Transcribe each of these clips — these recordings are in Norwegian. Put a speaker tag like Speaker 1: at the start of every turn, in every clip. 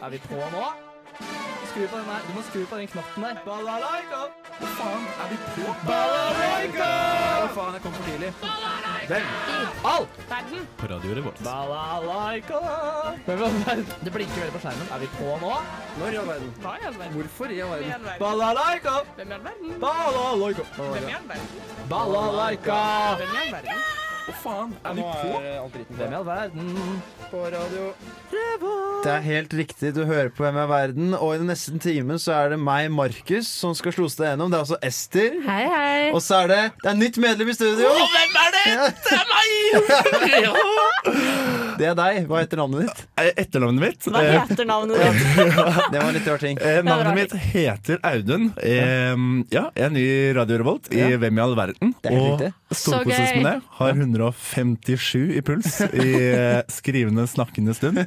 Speaker 1: Er vi på nå? Skru på den der. Du må skru på den knappen der. Balalaika! Hva faen? Er vi på? Balalaika! Å faen, jeg kom for tidlig. Den. Alt!
Speaker 2: Verden.
Speaker 3: På Radio Revolt.
Speaker 1: Balalaika! Men hva er det? Det blinker veldig på skjermen. Er vi på nå?
Speaker 4: Når i all verden?
Speaker 2: Hva i all verden?
Speaker 4: Hvorfor i all
Speaker 2: Hvem i
Speaker 4: verden?
Speaker 2: all verden?
Speaker 1: Balalaika!
Speaker 2: Hvem i all verden?
Speaker 1: Balalaika!
Speaker 2: Hvem i all verden?
Speaker 1: Balalaika!
Speaker 2: Hvem i all verden?
Speaker 1: Hva faen? Er vi
Speaker 4: Nå
Speaker 1: på?
Speaker 4: er alt dritten
Speaker 1: Hvem i all verden?
Speaker 4: på radio.
Speaker 5: Det er helt riktig. Du hører på Hvem er verden, og i den neste timen så er det meg, Markus, som skal slose deg gjennom. Det er også Ester.
Speaker 6: Hei, hei.
Speaker 5: Og så er det Det er nytt medlem i studio! hvem er det? Det er deg. Hva heter navnet ditt?
Speaker 3: Eh, Etternavnet mitt
Speaker 6: Hva
Speaker 3: eh,
Speaker 6: heter navnet ditt?
Speaker 5: Det var en litt rar ting.
Speaker 3: eh, Navnet
Speaker 6: rart.
Speaker 3: mitt heter Audun. Eh, ja, jeg er ny i Radio Revolt i
Speaker 5: Ja.
Speaker 3: Hvem i all verden.
Speaker 5: Det er helt
Speaker 3: Og
Speaker 5: riktig.
Speaker 3: storkoses
Speaker 6: gøy.
Speaker 3: med det. Har 157 i puls i eh, skrivende, snakkende stund.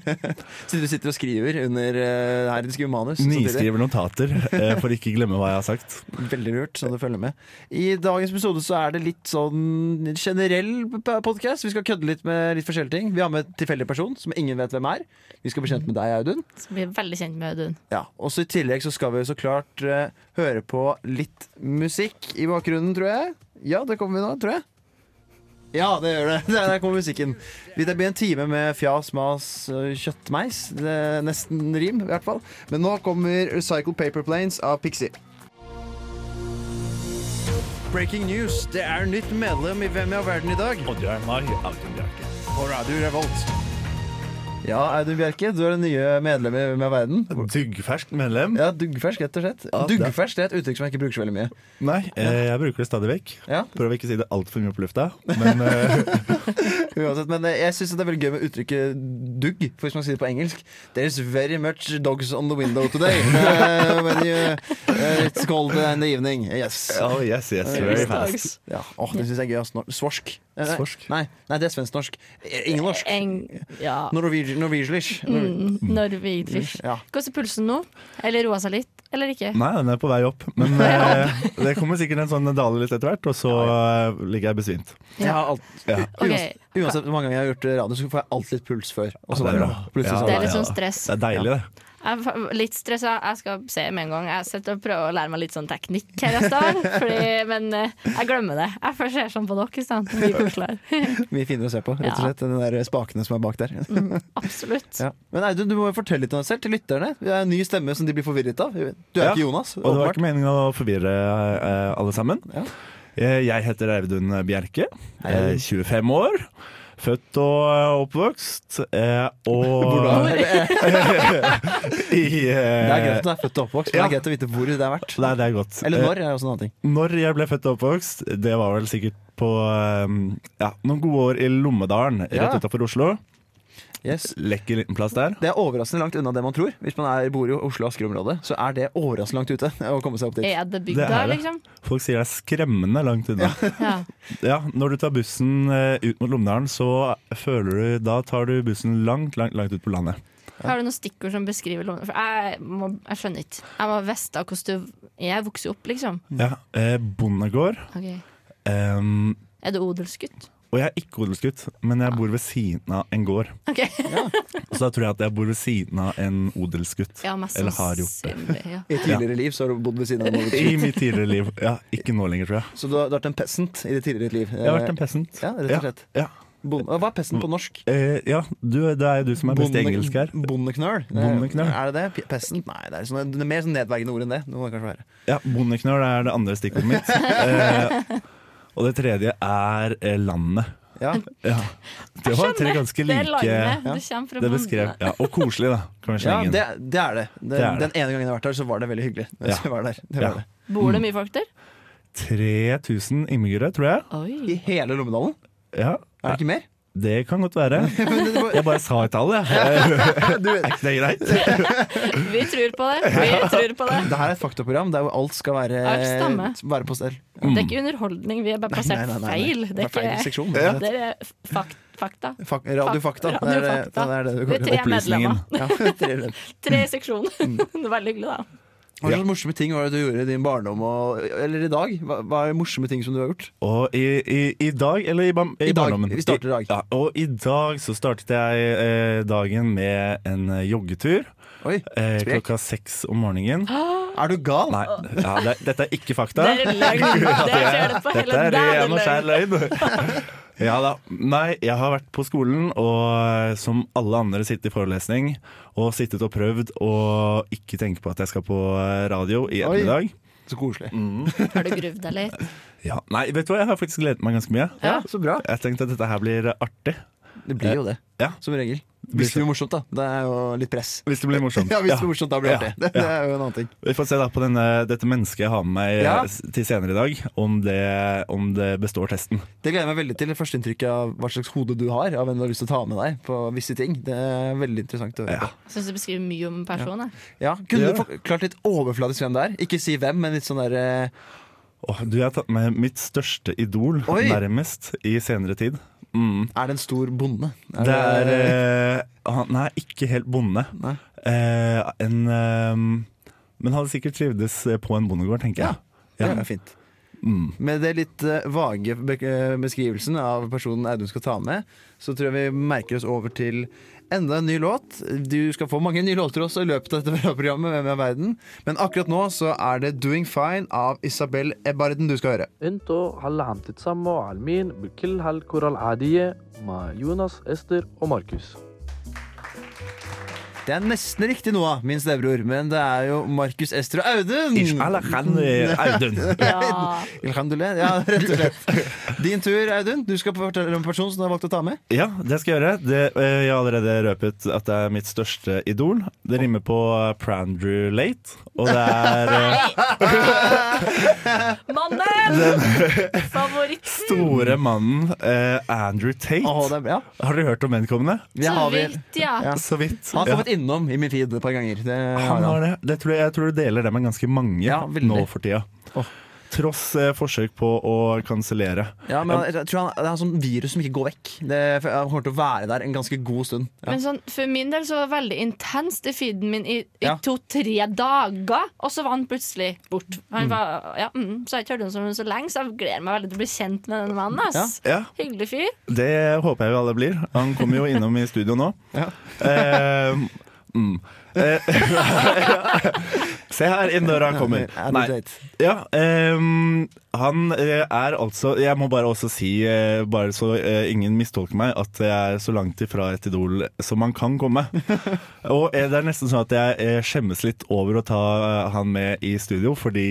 Speaker 5: Så du sitter og skriver under eh, her du skriver manus? samtidig.
Speaker 3: Nyskriver notater eh, for ikke glemme hva jeg har sagt.
Speaker 5: Veldig lurt, så du følger med. I dagens episode så er det litt sånn generell podkast. Vi skal kødde litt med litt forskjellige ting. Vi har med en tilfeldig person som ingen vet hvem er. Vi skal bli kjent med deg, Audun.
Speaker 6: Så blir jeg veldig kjent med Audun.
Speaker 5: Ja, og så I tillegg så skal vi så klart eh, høre på litt musikk i bakgrunnen, tror jeg. Ja, det kommer vi nå, tror jeg. Ja, det gjør det. Der, der kommer musikken. Vi- Det blir en time med fjas, mas, eh, kjøttmeis. Det er nesten rim, i hvert fall. Men nå kommer Recycle Paper Planes av Pixie. Breaking news. Det er nytt medlem i Hvem i all verden i dag.
Speaker 3: Oddbjørn Mar, Audun Bjerke.
Speaker 5: På Radio Revolt. Ja, Audun Bjerke, du er det nye medlemmet i Hvem i all verden.
Speaker 3: Duggferskt medlem.
Speaker 5: Ja, duggfersk, rett og slett.
Speaker 3: Ja, det-
Speaker 5: duggfersk det er et uttrykk som jeg ikke bruker så veldig mye.
Speaker 3: Nei, eh, jeg bruker det stadig vekk.
Speaker 5: Ja.
Speaker 3: Prøver å ikke si det altfor mye på lufta, men eh,
Speaker 5: Uansett, men eh, jeg syns det er veldig gøy med uttrykket dugg, for hvis man sier det på engelsk There's very much dogs on the window today. eh, when you, eh, it's cold in the evening. Yes.
Speaker 3: oh, yes, yes, very fast.
Speaker 5: Ja, åh, Det syns jeg er gøy. ass. Nor- Svorsk. Eh, nei.
Speaker 3: Svorsk?
Speaker 5: Nei, nei, det er svensk-norsk. Eh, Engelsk.
Speaker 6: Eng, ja.
Speaker 5: Norwegian- Norwegianlish. Norwe-
Speaker 6: Mm, Norwegisk.
Speaker 5: Ja.
Speaker 6: Hvordan er pulsen nå? Eller roa seg litt? Eller ikke?
Speaker 3: Nei, den er på vei opp, men eh, det kommer sikkert en sånn dale litt etter hvert, og så eh, ligger jeg besvimt.
Speaker 5: Jeg har alt,
Speaker 3: Ja.
Speaker 6: Ok.
Speaker 5: uansett, uansett hvor mange ganger jeg har gjort eh, radio, så får jeg alltid litt puls før. Og så
Speaker 3: Ja, det er
Speaker 5: bare,
Speaker 3: bra.
Speaker 5: plutselig
Speaker 3: Ja,
Speaker 5: så
Speaker 6: Det er
Speaker 3: ja,
Speaker 6: litt sånn
Speaker 3: ja.
Speaker 6: stress.
Speaker 3: Det er deilig, det.
Speaker 6: Jeg er fa- litt stressa. Jeg skal se med en gang. Jeg sitter og prøver å lære meg litt sånn teknikk her i stad, fordi- men eh, jeg glemmer det. Jeg får se sånn på dere i stedet. Vi pusler.
Speaker 5: mye finere å se på, rett og
Speaker 6: Ja.
Speaker 5: slett. Den der spakene som er bak der.
Speaker 6: Absolutt.
Speaker 5: Ja. Men Audun, du må jo fortelle litt om deg selv til lytterne. Det er en ny stemme som de blir forvirret av. Du er
Speaker 3: Ja.
Speaker 5: ikke Jonas.
Speaker 3: Og det var
Speaker 5: åpenbart.
Speaker 3: ikke meningen å forvirre eh, alle sammen.
Speaker 5: Ja.
Speaker 3: Eh, Jeg heter Audun Bjerke,
Speaker 5: Hei,
Speaker 3: eh,
Speaker 5: Audun.
Speaker 3: 25 år, født og eh, oppvokst, eh, og
Speaker 5: Hvordan? Det er
Speaker 3: i eh,
Speaker 5: greit at du er født og oppvokst, men det
Speaker 3: Ja.
Speaker 5: er greit å vite hvor det har vært.
Speaker 3: Nei, det er godt.
Speaker 5: Eller
Speaker 3: Eh,
Speaker 5: når. er også en annen ting
Speaker 3: Når jeg ble født og oppvokst, det var vel sikkert på eh, ja, noen gode år i Lommedalen, rett
Speaker 5: Ja.
Speaker 3: utenfor Oslo.
Speaker 5: yes.
Speaker 3: Lekker liten plass der.
Speaker 5: Det er overraskende langt unna det man tror. Hvis man er, bor i Oslo- og Asker-området, så er det overraskende langt ute å komme seg opp dit.
Speaker 6: Er det
Speaker 3: Det er
Speaker 6: bygda,
Speaker 3: det.
Speaker 6: liksom?
Speaker 3: Folk sier det er skremmende langt unna.
Speaker 6: Ja.
Speaker 3: Ja, når du tar bussen eh, ut mot Lommedalen, så føler du Da tar du bussen langt, langt, langt ut på landet.
Speaker 6: Har du noen stikkord som beskriver Lommedalen? For jeg, må, jeg skjønner ikke. Jeg må vite hvordan du Jeg vokste jo opp, liksom.
Speaker 3: Ja, eh, Bondegård.
Speaker 6: Ok.
Speaker 3: ehm,
Speaker 6: Er du odelsgutt?
Speaker 3: og jeg er ikke odelsgutt, men jeg bor ved siden av en gård.
Speaker 6: Ok.
Speaker 3: Og så tror jeg at jeg bor ved siden av en odelsgutt.
Speaker 6: Ja, mest
Speaker 3: Eller har gjort det.
Speaker 6: sannsynlig, Ja.
Speaker 5: I et tidligere liv så har du bodd ved siden av noen.
Speaker 3: I mitt tidligere liv. Ja, ikke nå lenger, tror jeg.
Speaker 5: Så du har, du har vært en peasant i ditt tidligere liv.
Speaker 3: Jeg har vært en peasant.
Speaker 5: Ja, rett og slett.
Speaker 3: Ja.
Speaker 5: Bonde- Hva er peasant på norsk?
Speaker 3: Eh, ja, du, det er jo du som er best i engelsk her.
Speaker 5: Bondeknøl? Det er-
Speaker 3: Bondeknøl.
Speaker 5: Er det det? P- Peasant? Nei, det er, sånne, det er mer sånn nedverdigende ord enn det. Det må det kanskje være.
Speaker 3: Ja, Bondeknøl er det andre stikkordet mitt. Eh, og det tredje er eh, landet.
Speaker 5: Ja.
Speaker 3: Ja. Det var tre
Speaker 6: Skjønner.
Speaker 3: ganske
Speaker 6: Det er landet.
Speaker 3: like
Speaker 6: Du kommer fra
Speaker 3: Det beskrev
Speaker 6: Mandal.
Speaker 3: ja, Og koselig, da. Kan vi
Speaker 5: Ja,
Speaker 3: slenge inn.
Speaker 5: det, det er det. Den,
Speaker 3: Det er det.
Speaker 5: den ene gangen jeg har vært der, så var det veldig hyggelig.
Speaker 3: Ja.
Speaker 5: Så jeg var der. Det
Speaker 3: Ja.
Speaker 5: var det.
Speaker 3: Mm.
Speaker 6: Bor det mye folk der?
Speaker 3: 3000 innbyggere, tror jeg.
Speaker 5: I
Speaker 6: Oi.
Speaker 5: hele Lommedalen?
Speaker 3: Ja,
Speaker 5: Er det ikke mer?
Speaker 3: Det kan godt være.
Speaker 5: Men det var-
Speaker 3: Jeg bare sa et tall, jeg. Er ikke det greit?
Speaker 6: Vi tror på det. Vi tror på det.
Speaker 5: Det her er et faktaprogram der hvor alt skal være, eh,
Speaker 6: Alt stemmer.
Speaker 5: være på stell.
Speaker 3: Mm.
Speaker 6: Det er ikke underholdning, vi er bare plassert
Speaker 5: Nei, nei, nei, nei.
Speaker 6: feil. Det er
Speaker 5: feil
Speaker 6: ikke
Speaker 5: seksjon.
Speaker 6: det er fak fakta.
Speaker 5: Fak, radiofakta.
Speaker 6: Fak-
Speaker 5: Det, er, det,
Speaker 6: radiofakta.
Speaker 5: det er det du
Speaker 6: Vi er
Speaker 5: kaller
Speaker 6: tre medlemmer.
Speaker 5: Ja, tre medlemmer.
Speaker 3: Mm.
Speaker 6: Tre i seksjonen. Det er Veldig hyggelig, da.
Speaker 5: Hva slags morsomme ting var det du gjorde i din barndom og, eller i dag? Hva, hva er morsomme ting som du har gjort?
Speaker 3: Og i, i, i dag, eller i, bam, i,
Speaker 5: I dag.
Speaker 3: barndommen
Speaker 5: Vi starter i dag.
Speaker 3: Ja, og i dag så startet jeg eh, dagen med en eh, joggetur.
Speaker 5: Oi,
Speaker 3: Eh,
Speaker 5: sprek.
Speaker 3: klokka seks om morgenen.
Speaker 5: Er du gal?
Speaker 3: Nei, ja, det, dette er ikke fakta.
Speaker 6: Det er løgn. Det skjer det på hele
Speaker 3: Dette er
Speaker 6: dagen.
Speaker 3: ren og skjær løgn. Ja da. Nei, jeg har vært på skolen og eh, som alle andre sittet i forelesning og sittet og prøvd å ikke tenke på at jeg skal på eh, radio i
Speaker 5: Oi.
Speaker 3: ettermiddag.
Speaker 5: Så koselig.
Speaker 3: Mm.
Speaker 6: Har du gruvd deg litt?
Speaker 3: Ja. Nei, vet du hva, jeg har faktisk gledet meg ganske mye.
Speaker 5: Ja, Så bra.
Speaker 3: Jeg tenkte at dette her blir artig.
Speaker 5: Det blir jo det.
Speaker 3: Eh, Ja.
Speaker 5: Som regel.
Speaker 3: blir
Speaker 5: Hvis det blir morsomt, da. Det er jo litt press.
Speaker 3: Hvis det blir morsomt.
Speaker 5: Ja, hvis det
Speaker 3: Ja.
Speaker 5: blir morsomt, da blir det artig.
Speaker 3: Ja.
Speaker 5: Det, det er jo en annen ting.
Speaker 3: Vi får se da på denne, dette mennesket jeg har med meg eh,
Speaker 5: Ja.
Speaker 3: s- til senere i dag, om det, om det består testen.
Speaker 5: Det gleder jeg meg veldig til. det Førsteinntrykket av hva slags hode du har. Av hvem du har lyst til å ta med deg på visse ting. Det er veldig interessant å høre.
Speaker 3: Ja.
Speaker 5: på.
Speaker 6: Syns du beskriver mye om en person. jeg.
Speaker 5: Ja, Kunne
Speaker 3: Ja.
Speaker 5: du forklart litt overfladisk hvem det er? Ikke si hvem, men litt sånn der eh,
Speaker 3: Åh, du, jeg har tatt med mitt største idol
Speaker 5: Oi.
Speaker 3: nærmest i senere tid. Mm.
Speaker 5: Er det en stor bonde? Er
Speaker 3: Det er eh, Han er ikke helt bonde.
Speaker 5: Nei.
Speaker 3: Eh, en, eh, men han sikkert trivdes eh, på en bondegård, tenker jeg.
Speaker 5: Det er fint.
Speaker 3: Mm.
Speaker 5: Med det litt eh, vage be- eh, beskrivelsen av personen Audun skal ta med, så tror jeg vi merker oss over til enda en ny låt. Du skal få mange nye låter også i løpet av dette programmet, Hvem er verden? Men akkurat nå så er det Doing Fine av Isabel Ebarden du skal høre.
Speaker 7: انتوا هلا عم تتسمعوا على المين بكل هالكرة العادية مع يونس استر وماركوس
Speaker 5: Det er nesten riktig noe, min stebror, men det er jo Markus Ester og Audun!
Speaker 3: Ish ala khan, eh, Audun.
Speaker 6: Ja.
Speaker 5: Alhamdulillah. Ja, rett og slett. Din tur, Audun. Du skal fortelle om en person som du har valgt å ta med.
Speaker 3: Ja, det skal jeg gjøre. Det, eh, jeg har allerede røpet at det er mitt største idol. Det rimer på eh, Prandrew Late, og det er eh,
Speaker 6: Mannen! Favoritten!
Speaker 3: store mannen eh, Andrew Tate.
Speaker 5: Åh, det er, ja,
Speaker 3: Har dere hørt om vedkommende?
Speaker 5: vi
Speaker 6: Så
Speaker 5: har vi.
Speaker 6: vidt, ja.
Speaker 5: Ja.
Speaker 3: Så vidt.
Speaker 5: Han har
Speaker 3: Ja.
Speaker 5: kommet innom i min feed et par ganger. Det har han.
Speaker 3: Han har det. det tror jeg, jeg tror du deler det med ganske mange
Speaker 5: Ja, veldig.
Speaker 3: nå for tida.
Speaker 5: Åh.
Speaker 3: Tross eh, forsøk på å kansellere.
Speaker 5: Ja, men jeg, jeg tror han, det er en sånn virus som ikke går vekk. Det, for han kommer til å være der en ganske god stund. Ja.
Speaker 6: Men sånn, for min del så var det veldig intenst i feeden min i, i
Speaker 5: Ja.
Speaker 6: to-tre dager, og så var han plutselig bort. Han var, ja, mm, så har jeg ikke hørt om ham så lenge, så jeg gleder meg veldig til å bli kjent med den mannen. Ass.
Speaker 3: Ja,
Speaker 6: Hyggelig fyr.
Speaker 3: det håper jeg vi alle blir. Han kommer jo innom i studio nå.
Speaker 5: Ja.
Speaker 3: Eh, mm. Eh, Se her, inn døra kommer.
Speaker 5: Er det
Speaker 3: Nei.
Speaker 5: date?
Speaker 3: Ja, ehm, han eh, er altså Jeg må bare også si, eh, bare så eh, ingen mistolker meg, at jeg er så langt ifra et idol som man kan komme. Og eh, det er nesten sånn at jeg eh, skjemmes litt over å ta eh, han med i studio, fordi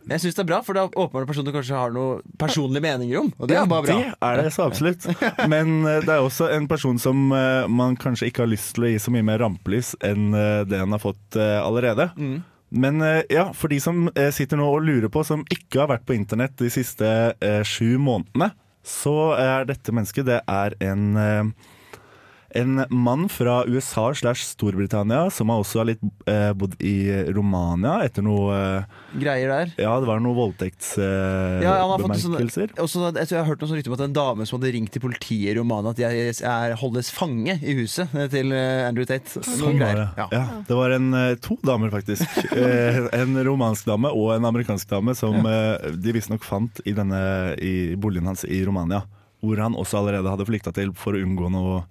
Speaker 5: Men Jeg syns det er bra, for det er åpenbart personer du kanskje har noe personlige meninger om. Og det er bare bra.
Speaker 3: Det er det så absolutt. Men eh, det er også en person som eh, man kanskje ikke har lyst til å gi så mye mer rampelys enn eh, det han har fått eh, allerede.
Speaker 5: Mm.
Speaker 3: Men eh, ja, for de som eh, sitter nå og lurer på, som ikke har vært på internett de siste eh, sju månedene, så er dette mennesket det er en eh, en mann fra USA slash Storbritannia som har også litt eh, bodd i Romania etter noe eh,
Speaker 5: Greier der.
Speaker 3: Ja, det var noen eh,
Speaker 5: Ja, han har fått en sånn,
Speaker 3: voldtektsbemerkelser.
Speaker 5: også, jeg tror jeg har hørt noe sånn rykte om at en dame som hadde ringt til politiet i Romania at jeg er, holdes fange i huset eh, til eh, Andrew Tate.
Speaker 3: Sånn var det. Ja.
Speaker 5: Ja.
Speaker 3: det var en, eh, to damer, faktisk. Eh, En romansk dame og en amerikansk dame som eh, de visstnok fant i, denne, i boligen hans i Romania. Hvor han også allerede hadde flykta til for å unngå noe,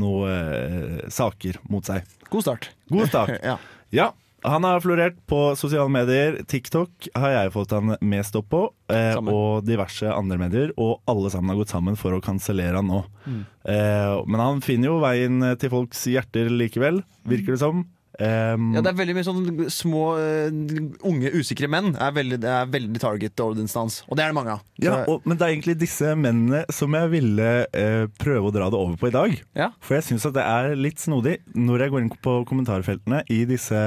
Speaker 3: noe eh, saker mot seg.
Speaker 5: God start.
Speaker 3: God start.
Speaker 5: Ja.
Speaker 3: Ja, han har florert på sosiale medier. TikTok har jeg fått han mest opp på. Eh,
Speaker 5: Samme.
Speaker 3: og diverse andre medier. Og alle sammen har gått sammen for å kansellere han nå.
Speaker 5: Mm.
Speaker 3: Eh, men han finner jo veien til folks hjerter likevel, virker det som. Ehm,
Speaker 5: Ja, det er veldig mye sånn små, eh, unge, usikre menn er veldig, det er veldig target audience hans. Og det er det mange av. Så-
Speaker 3: ja, og, men det er egentlig disse mennene som jeg ville eh, prøve å dra det over på i dag.
Speaker 5: Ja.
Speaker 3: For jeg syns at det er litt snodig når jeg går inn på kommentarfeltene i disse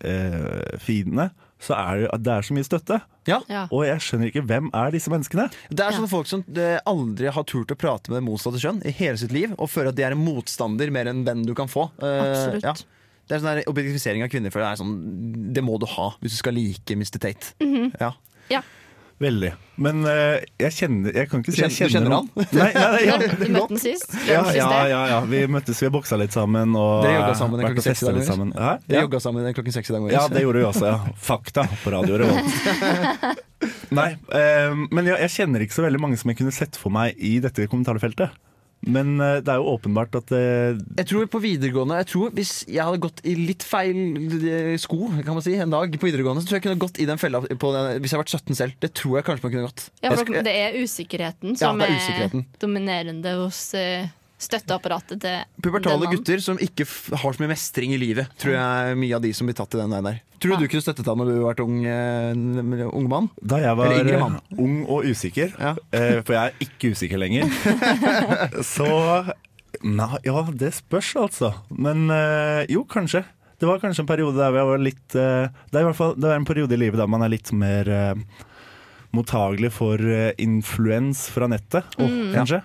Speaker 3: Tate-feedene. så er det, det er så mye støtte,
Speaker 5: ja.
Speaker 6: Ja.
Speaker 3: og jeg skjønner ikke hvem er disse menneskene.
Speaker 5: Det er sånne folk som eh, aldri har turt å prate med det motsatte kjønn i hele sitt liv, og føler at de er en motstander mer enn venn du kan få. Eh,
Speaker 6: Absolutt.
Speaker 5: ja. Det er sånn der
Speaker 6: Mhm.
Speaker 5: objektifisering av kvinner, for det er sånn Det må du ha hvis du skal like Mr. Tate. Ja.
Speaker 6: Ja.
Speaker 3: Veldig. Men eh, jeg kjenner Jeg kan ikke si jeg
Speaker 5: Kjenner-
Speaker 3: kjenner,
Speaker 5: du kjenner
Speaker 3: noen. Nei, nei,
Speaker 6: Du
Speaker 3: nei, ja,
Speaker 6: møtte du møtte den sist?
Speaker 3: ja,
Speaker 6: Sist
Speaker 3: ja,
Speaker 6: det.
Speaker 3: ja, ja. Vi møttes, vi har boksa litt sammen og
Speaker 5: Dere jogga sammen
Speaker 3: eh,
Speaker 5: klokken
Speaker 3: vært og
Speaker 5: seks i
Speaker 3: festa
Speaker 5: dag,
Speaker 3: litt
Speaker 5: eller?
Speaker 3: sammen. Hæ?
Speaker 5: Vi
Speaker 3: Ja.
Speaker 5: jogga sammen klokken seks i dag morges.
Speaker 3: Ja, det gjorde vi også. ja Fakta på radio Revolt. Nei, eh, men jeg, jeg kjenner ikke så veldig mange som jeg kunne sett for meg i dette kommentarfeltet. Men eh, det er jo åpenbart at eh,
Speaker 5: Jeg tror på videregående Jeg tror Hvis jeg hadde gått i litt feil eh, sko Kan man si En dag på videregående Så tror jeg jeg kunne gått i den fella på den, Hvis jeg hadde vært 17 selv Det tror jeg kanskje man kunne gått
Speaker 6: Ja,
Speaker 5: Jeg
Speaker 6: for
Speaker 5: skulle-
Speaker 6: det er usikkerheten som
Speaker 5: det er
Speaker 6: er,
Speaker 5: usikkerheten.
Speaker 6: dominerende hos eh, støtteapparatet til den
Speaker 5: Pubertale
Speaker 6: mannen.
Speaker 5: gutter som ikke f har så mye mestring i livet Tror jeg er mye av de som blir tatt i den veien der Tror du du kunne støttet han når du hadde vært ung, eh, ung mann?
Speaker 3: da jeg var
Speaker 5: Eller yngre
Speaker 3: eh,
Speaker 5: mann.
Speaker 3: ung og usikker,
Speaker 5: Ja.
Speaker 3: eh, for jeg er ikke usikker lenger, så Nei, ja, det spørs altså. Men eh, jo, kanskje. Det var kanskje en periode der jeg var litt eh, Det er i hvert fall det er en periode i livet der man er litt mer eh, mottagelig for eh, influens fra nettet,
Speaker 6: Mm.
Speaker 3: kanskje.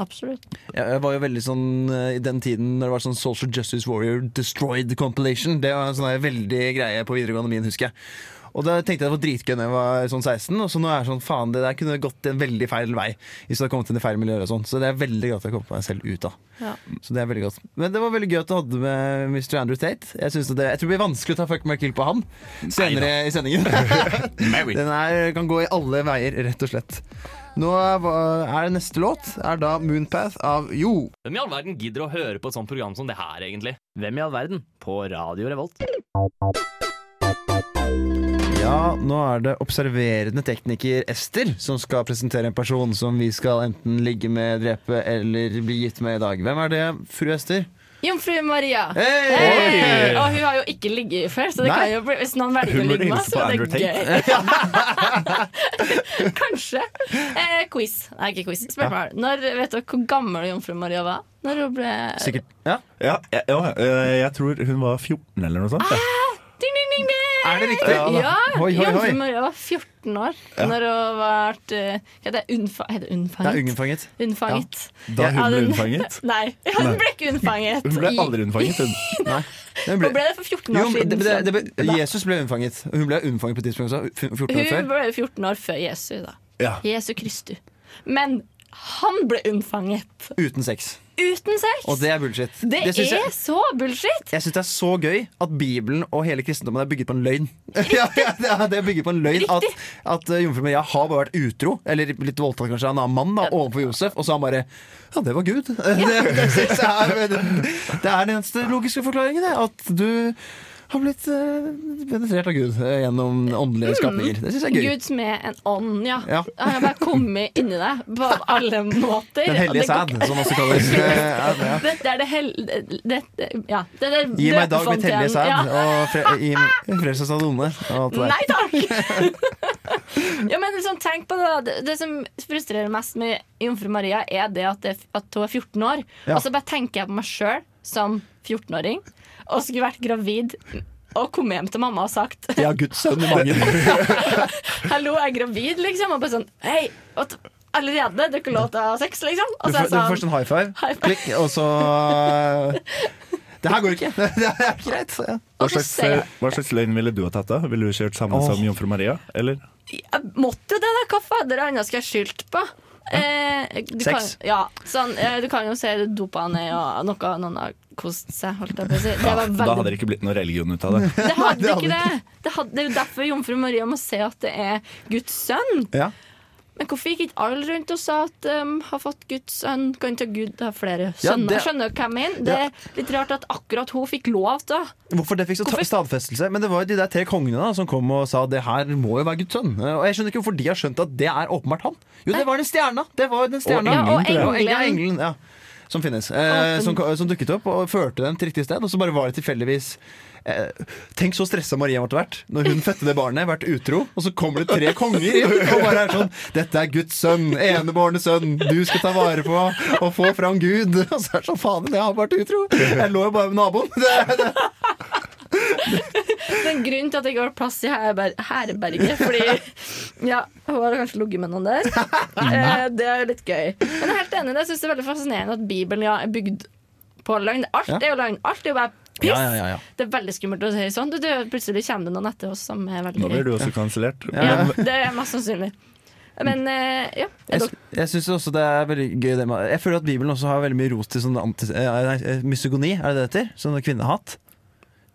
Speaker 6: Absolutt.
Speaker 5: Jeg, jeg var jo veldig sånn eh, I den tiden når det var sånn Social Justice Warrior Destroyed Compilation. Det var en sånn der veldig greie på videregående min, husker jeg. Og da tenkte jeg det var dritgøy da jeg var sånn 16, og så nå er jeg sånn faen, det der kunne gått en veldig feil vei. Hvis jeg hadde kommet inn i feil miljøer og sånn. Så det er veldig godt jeg kom meg selv ut av.
Speaker 6: Ja.
Speaker 5: Så det er veldig godt. Men det var veldig gøy at du hadde med Mr. Andrew Tate. Jeg, synes at det, jeg tror det blir vanskelig å ta fuck Mark Hill på han senere i sendingen. Den er, kan gå i alle veier, rett og slett. Nå er, er neste låt er da Moonpath av Jo.
Speaker 8: Hvem i all verden gidder å høre på et sånt program som det her, egentlig? Hvem i all verden? På Radio Revolt.
Speaker 5: Ja, nå er det observerende tekniker Ester som skal presentere en person som vi skal enten ligge med, drepe eller bli gitt med i dag. Hvem er det, fru Ester?
Speaker 6: Jomfru Maria.
Speaker 5: Hey!
Speaker 6: Hey! Og hun har jo ikke ligget før, så det
Speaker 5: Nei.
Speaker 6: kan jo bli, hvis noen velger å
Speaker 3: Hun burde
Speaker 6: ligge med,
Speaker 3: hilse
Speaker 6: så
Speaker 3: på
Speaker 6: er
Speaker 3: Andrew
Speaker 6: det gøy. Kanskje. Eh, quiz. Nei, ikke quiz. Spørsmål. Når, vet dere hvor gammel jomfru Maria var? Når hun ble
Speaker 5: Sikkert. Ja.
Speaker 3: Ja, jeg, ja, eh, jeg tror hun var 14 eller noe sånt. jeg.
Speaker 6: Ah, Ding, ding, ding, ding!
Speaker 5: Er det riktig?
Speaker 6: Ja!
Speaker 5: Hoi, hoi,
Speaker 6: Jomfru
Speaker 5: hoi.
Speaker 6: Maria var 14 år Når hun ble eh, Hva heter det? Unnfa- heter det?
Speaker 5: Det er
Speaker 6: Unnfanget?
Speaker 5: ungefanget.
Speaker 6: Unnfanget.
Speaker 3: Da
Speaker 5: Ja,
Speaker 3: hun ble
Speaker 6: den-
Speaker 3: unnfanget.
Speaker 6: Nei, hun ble ikke unnfanget.
Speaker 3: Hun ble
Speaker 6: i-
Speaker 3: aldri unnfanget, hun.
Speaker 5: Nei. Hun
Speaker 6: Hun ble det for 14 år
Speaker 5: jo, men
Speaker 6: siden.
Speaker 5: det, det,
Speaker 6: så-
Speaker 5: det ble, Jesus ble unnfanget. Hun ble unnfanget på et tidspunkt også. f- 14 år
Speaker 6: Hun
Speaker 5: før.
Speaker 6: ble jo 14 år før Jesu, da.
Speaker 3: Ja.
Speaker 6: Jesu Kristu. Men han ble unnfanget
Speaker 5: Uten sex.
Speaker 6: uten sex!
Speaker 5: Og det er bullshit.
Speaker 6: Det
Speaker 5: synes
Speaker 6: er
Speaker 5: jeg,
Speaker 6: så bullshit!
Speaker 5: jeg syns det er så gøy at Bibelen og hele kristendommen er bygget på en løgn. ja, ja, det er- det er bygget på en løgn At, at eh, jomfru Maria har bare vært utro, eller litt voldtatt kanskje, av en annen mann da, overfor Josef, og så har han bare Ja, det var Gud. det, det, synes jeg er, det, det er den eneste logiske forklaringen, det. At du har blitt eh, penetrert av Gud eh, gjennom åndelige skapninger. Det syns jeg er gøy.
Speaker 6: Mm. Gud som er en ånd, ja.
Speaker 5: Ja.
Speaker 6: Han har bare kommet inni deg på alle måter.
Speaker 5: Den hellige
Speaker 6: Og
Speaker 5: sæd,
Speaker 6: det går-
Speaker 5: som også kalles. eh, ja, ja.
Speaker 6: Dette er det hell... Dette, ja. Det der
Speaker 5: Gi meg i dag mitt hellige
Speaker 6: døpefonten,
Speaker 5: sæd,
Speaker 6: ja.
Speaker 5: og fre gi frels oss av det onde. og alt det der.
Speaker 6: Nei takk! ja, men liksom, tenk på det, da. det Det som frustrerer mest med Jomfru Maria, er det at, det, at hun er 14 år.
Speaker 5: Ja.
Speaker 6: Og så bare tenker jeg på meg sjøl som 14-åring, og skulle vært gravid. Og kom hjem til mamma og sagt
Speaker 5: Jeg har Guds sønn i magen.
Speaker 6: 'hallo, jeg er gravid', liksom. Og bare sånn 'hei, og t- allerede? Du ikke lov til å ha sex', liksom. Og
Speaker 5: Du
Speaker 6: så er
Speaker 5: får,
Speaker 6: jeg
Speaker 5: du får først
Speaker 6: sånn
Speaker 5: en high five,
Speaker 6: High five.
Speaker 5: klikk, og så eh, Det her går ikke. Det er ikke greit. Ja.
Speaker 6: Og
Speaker 3: Hva
Speaker 6: så
Speaker 3: slags,
Speaker 6: ser jeg-
Speaker 3: hva slags løgn ville du ha tatt, da? Ville du kjørt samme
Speaker 5: Åh.
Speaker 3: som jomfru Maria? Eller?
Speaker 6: jeg Måtte det, da? Hva fader annet skal jeg skylde på? Eh, du
Speaker 5: Sex.
Speaker 6: Kan, ja, sånn, eh, du kan jo se dopa ned og noe noen har kost seg, holdt jeg på å si. Det, var
Speaker 3: Ah, Da hadde
Speaker 6: veldig,
Speaker 3: det ikke blitt noe religion ut av det.
Speaker 6: det hadde
Speaker 5: det hadde
Speaker 6: ikke det! Det, hadde, det er jo derfor jomfru Maria må si at det er Guds sønn.
Speaker 5: Ja.
Speaker 6: Men hvorfor gikk ikke alle rundt og sa at um, har fått Guds sønn, kan ikke Gud ha flere sønner?
Speaker 5: det-
Speaker 6: Skjønner du hva jeg mener? Det er litt rart at akkurat hun fikk lov til det.
Speaker 5: Hvorfor det fikk så ta-
Speaker 6: Hvorfor-
Speaker 5: stadfestelse? Men det var jo de der tre kongene da som kom og sa det her må jo være Guds sønn. Eh, Og jeg skjønner ikke hvorfor de har skjønt at det er åpenbart han. Jo, det var den stjerna! Det var jo den stjerna.
Speaker 6: Ja, og
Speaker 5: Ja,
Speaker 6: engelen.
Speaker 5: ja, engelen, ja. Som finnes. Eh, som, som dukket opp og førte dem til riktig sted, og så bare var det tilfeldigvis eh, Tenk så stressa Maria måtte vært når hun fødte det barnet, vært utro, og så kommer det tre konger inn og bare er sånn Dette er Guds sønn, enebårne sønn, du skal ta vare på og få fram Gud. Og så er det sånn Faen, jeg har vært utro! Jeg lå jo bare med naboen. Det, det,
Speaker 6: Den grunnen til at jeg ikke har plass i herber herberget, fordi ja, hun har kanskje ligget med noen der. Eh, det er jo litt gøy. Men jeg er helt enig, jeg synes det er veldig fascinerende at Bibelen ja, er bygd på løgn. Alt
Speaker 5: Ja.
Speaker 6: er jo løgn. Alt er jo bare piss. Det er veldig skummelt å si sånn. Du, du, plutselig kommer det noen etter oss som er veldig
Speaker 3: Nå blir du også kansellert.
Speaker 6: Ja,
Speaker 3: Men-
Speaker 6: det er mest sannsynlig. Men eh, ja. er
Speaker 5: Jeg,
Speaker 6: dere-
Speaker 5: jeg synes også det er veldig gøy det med, Jeg føler at Bibelen også har veldig mye ros til sånn anti, eh, nei, eh, misogoni, er det det heter? Sånn kvinnehatt.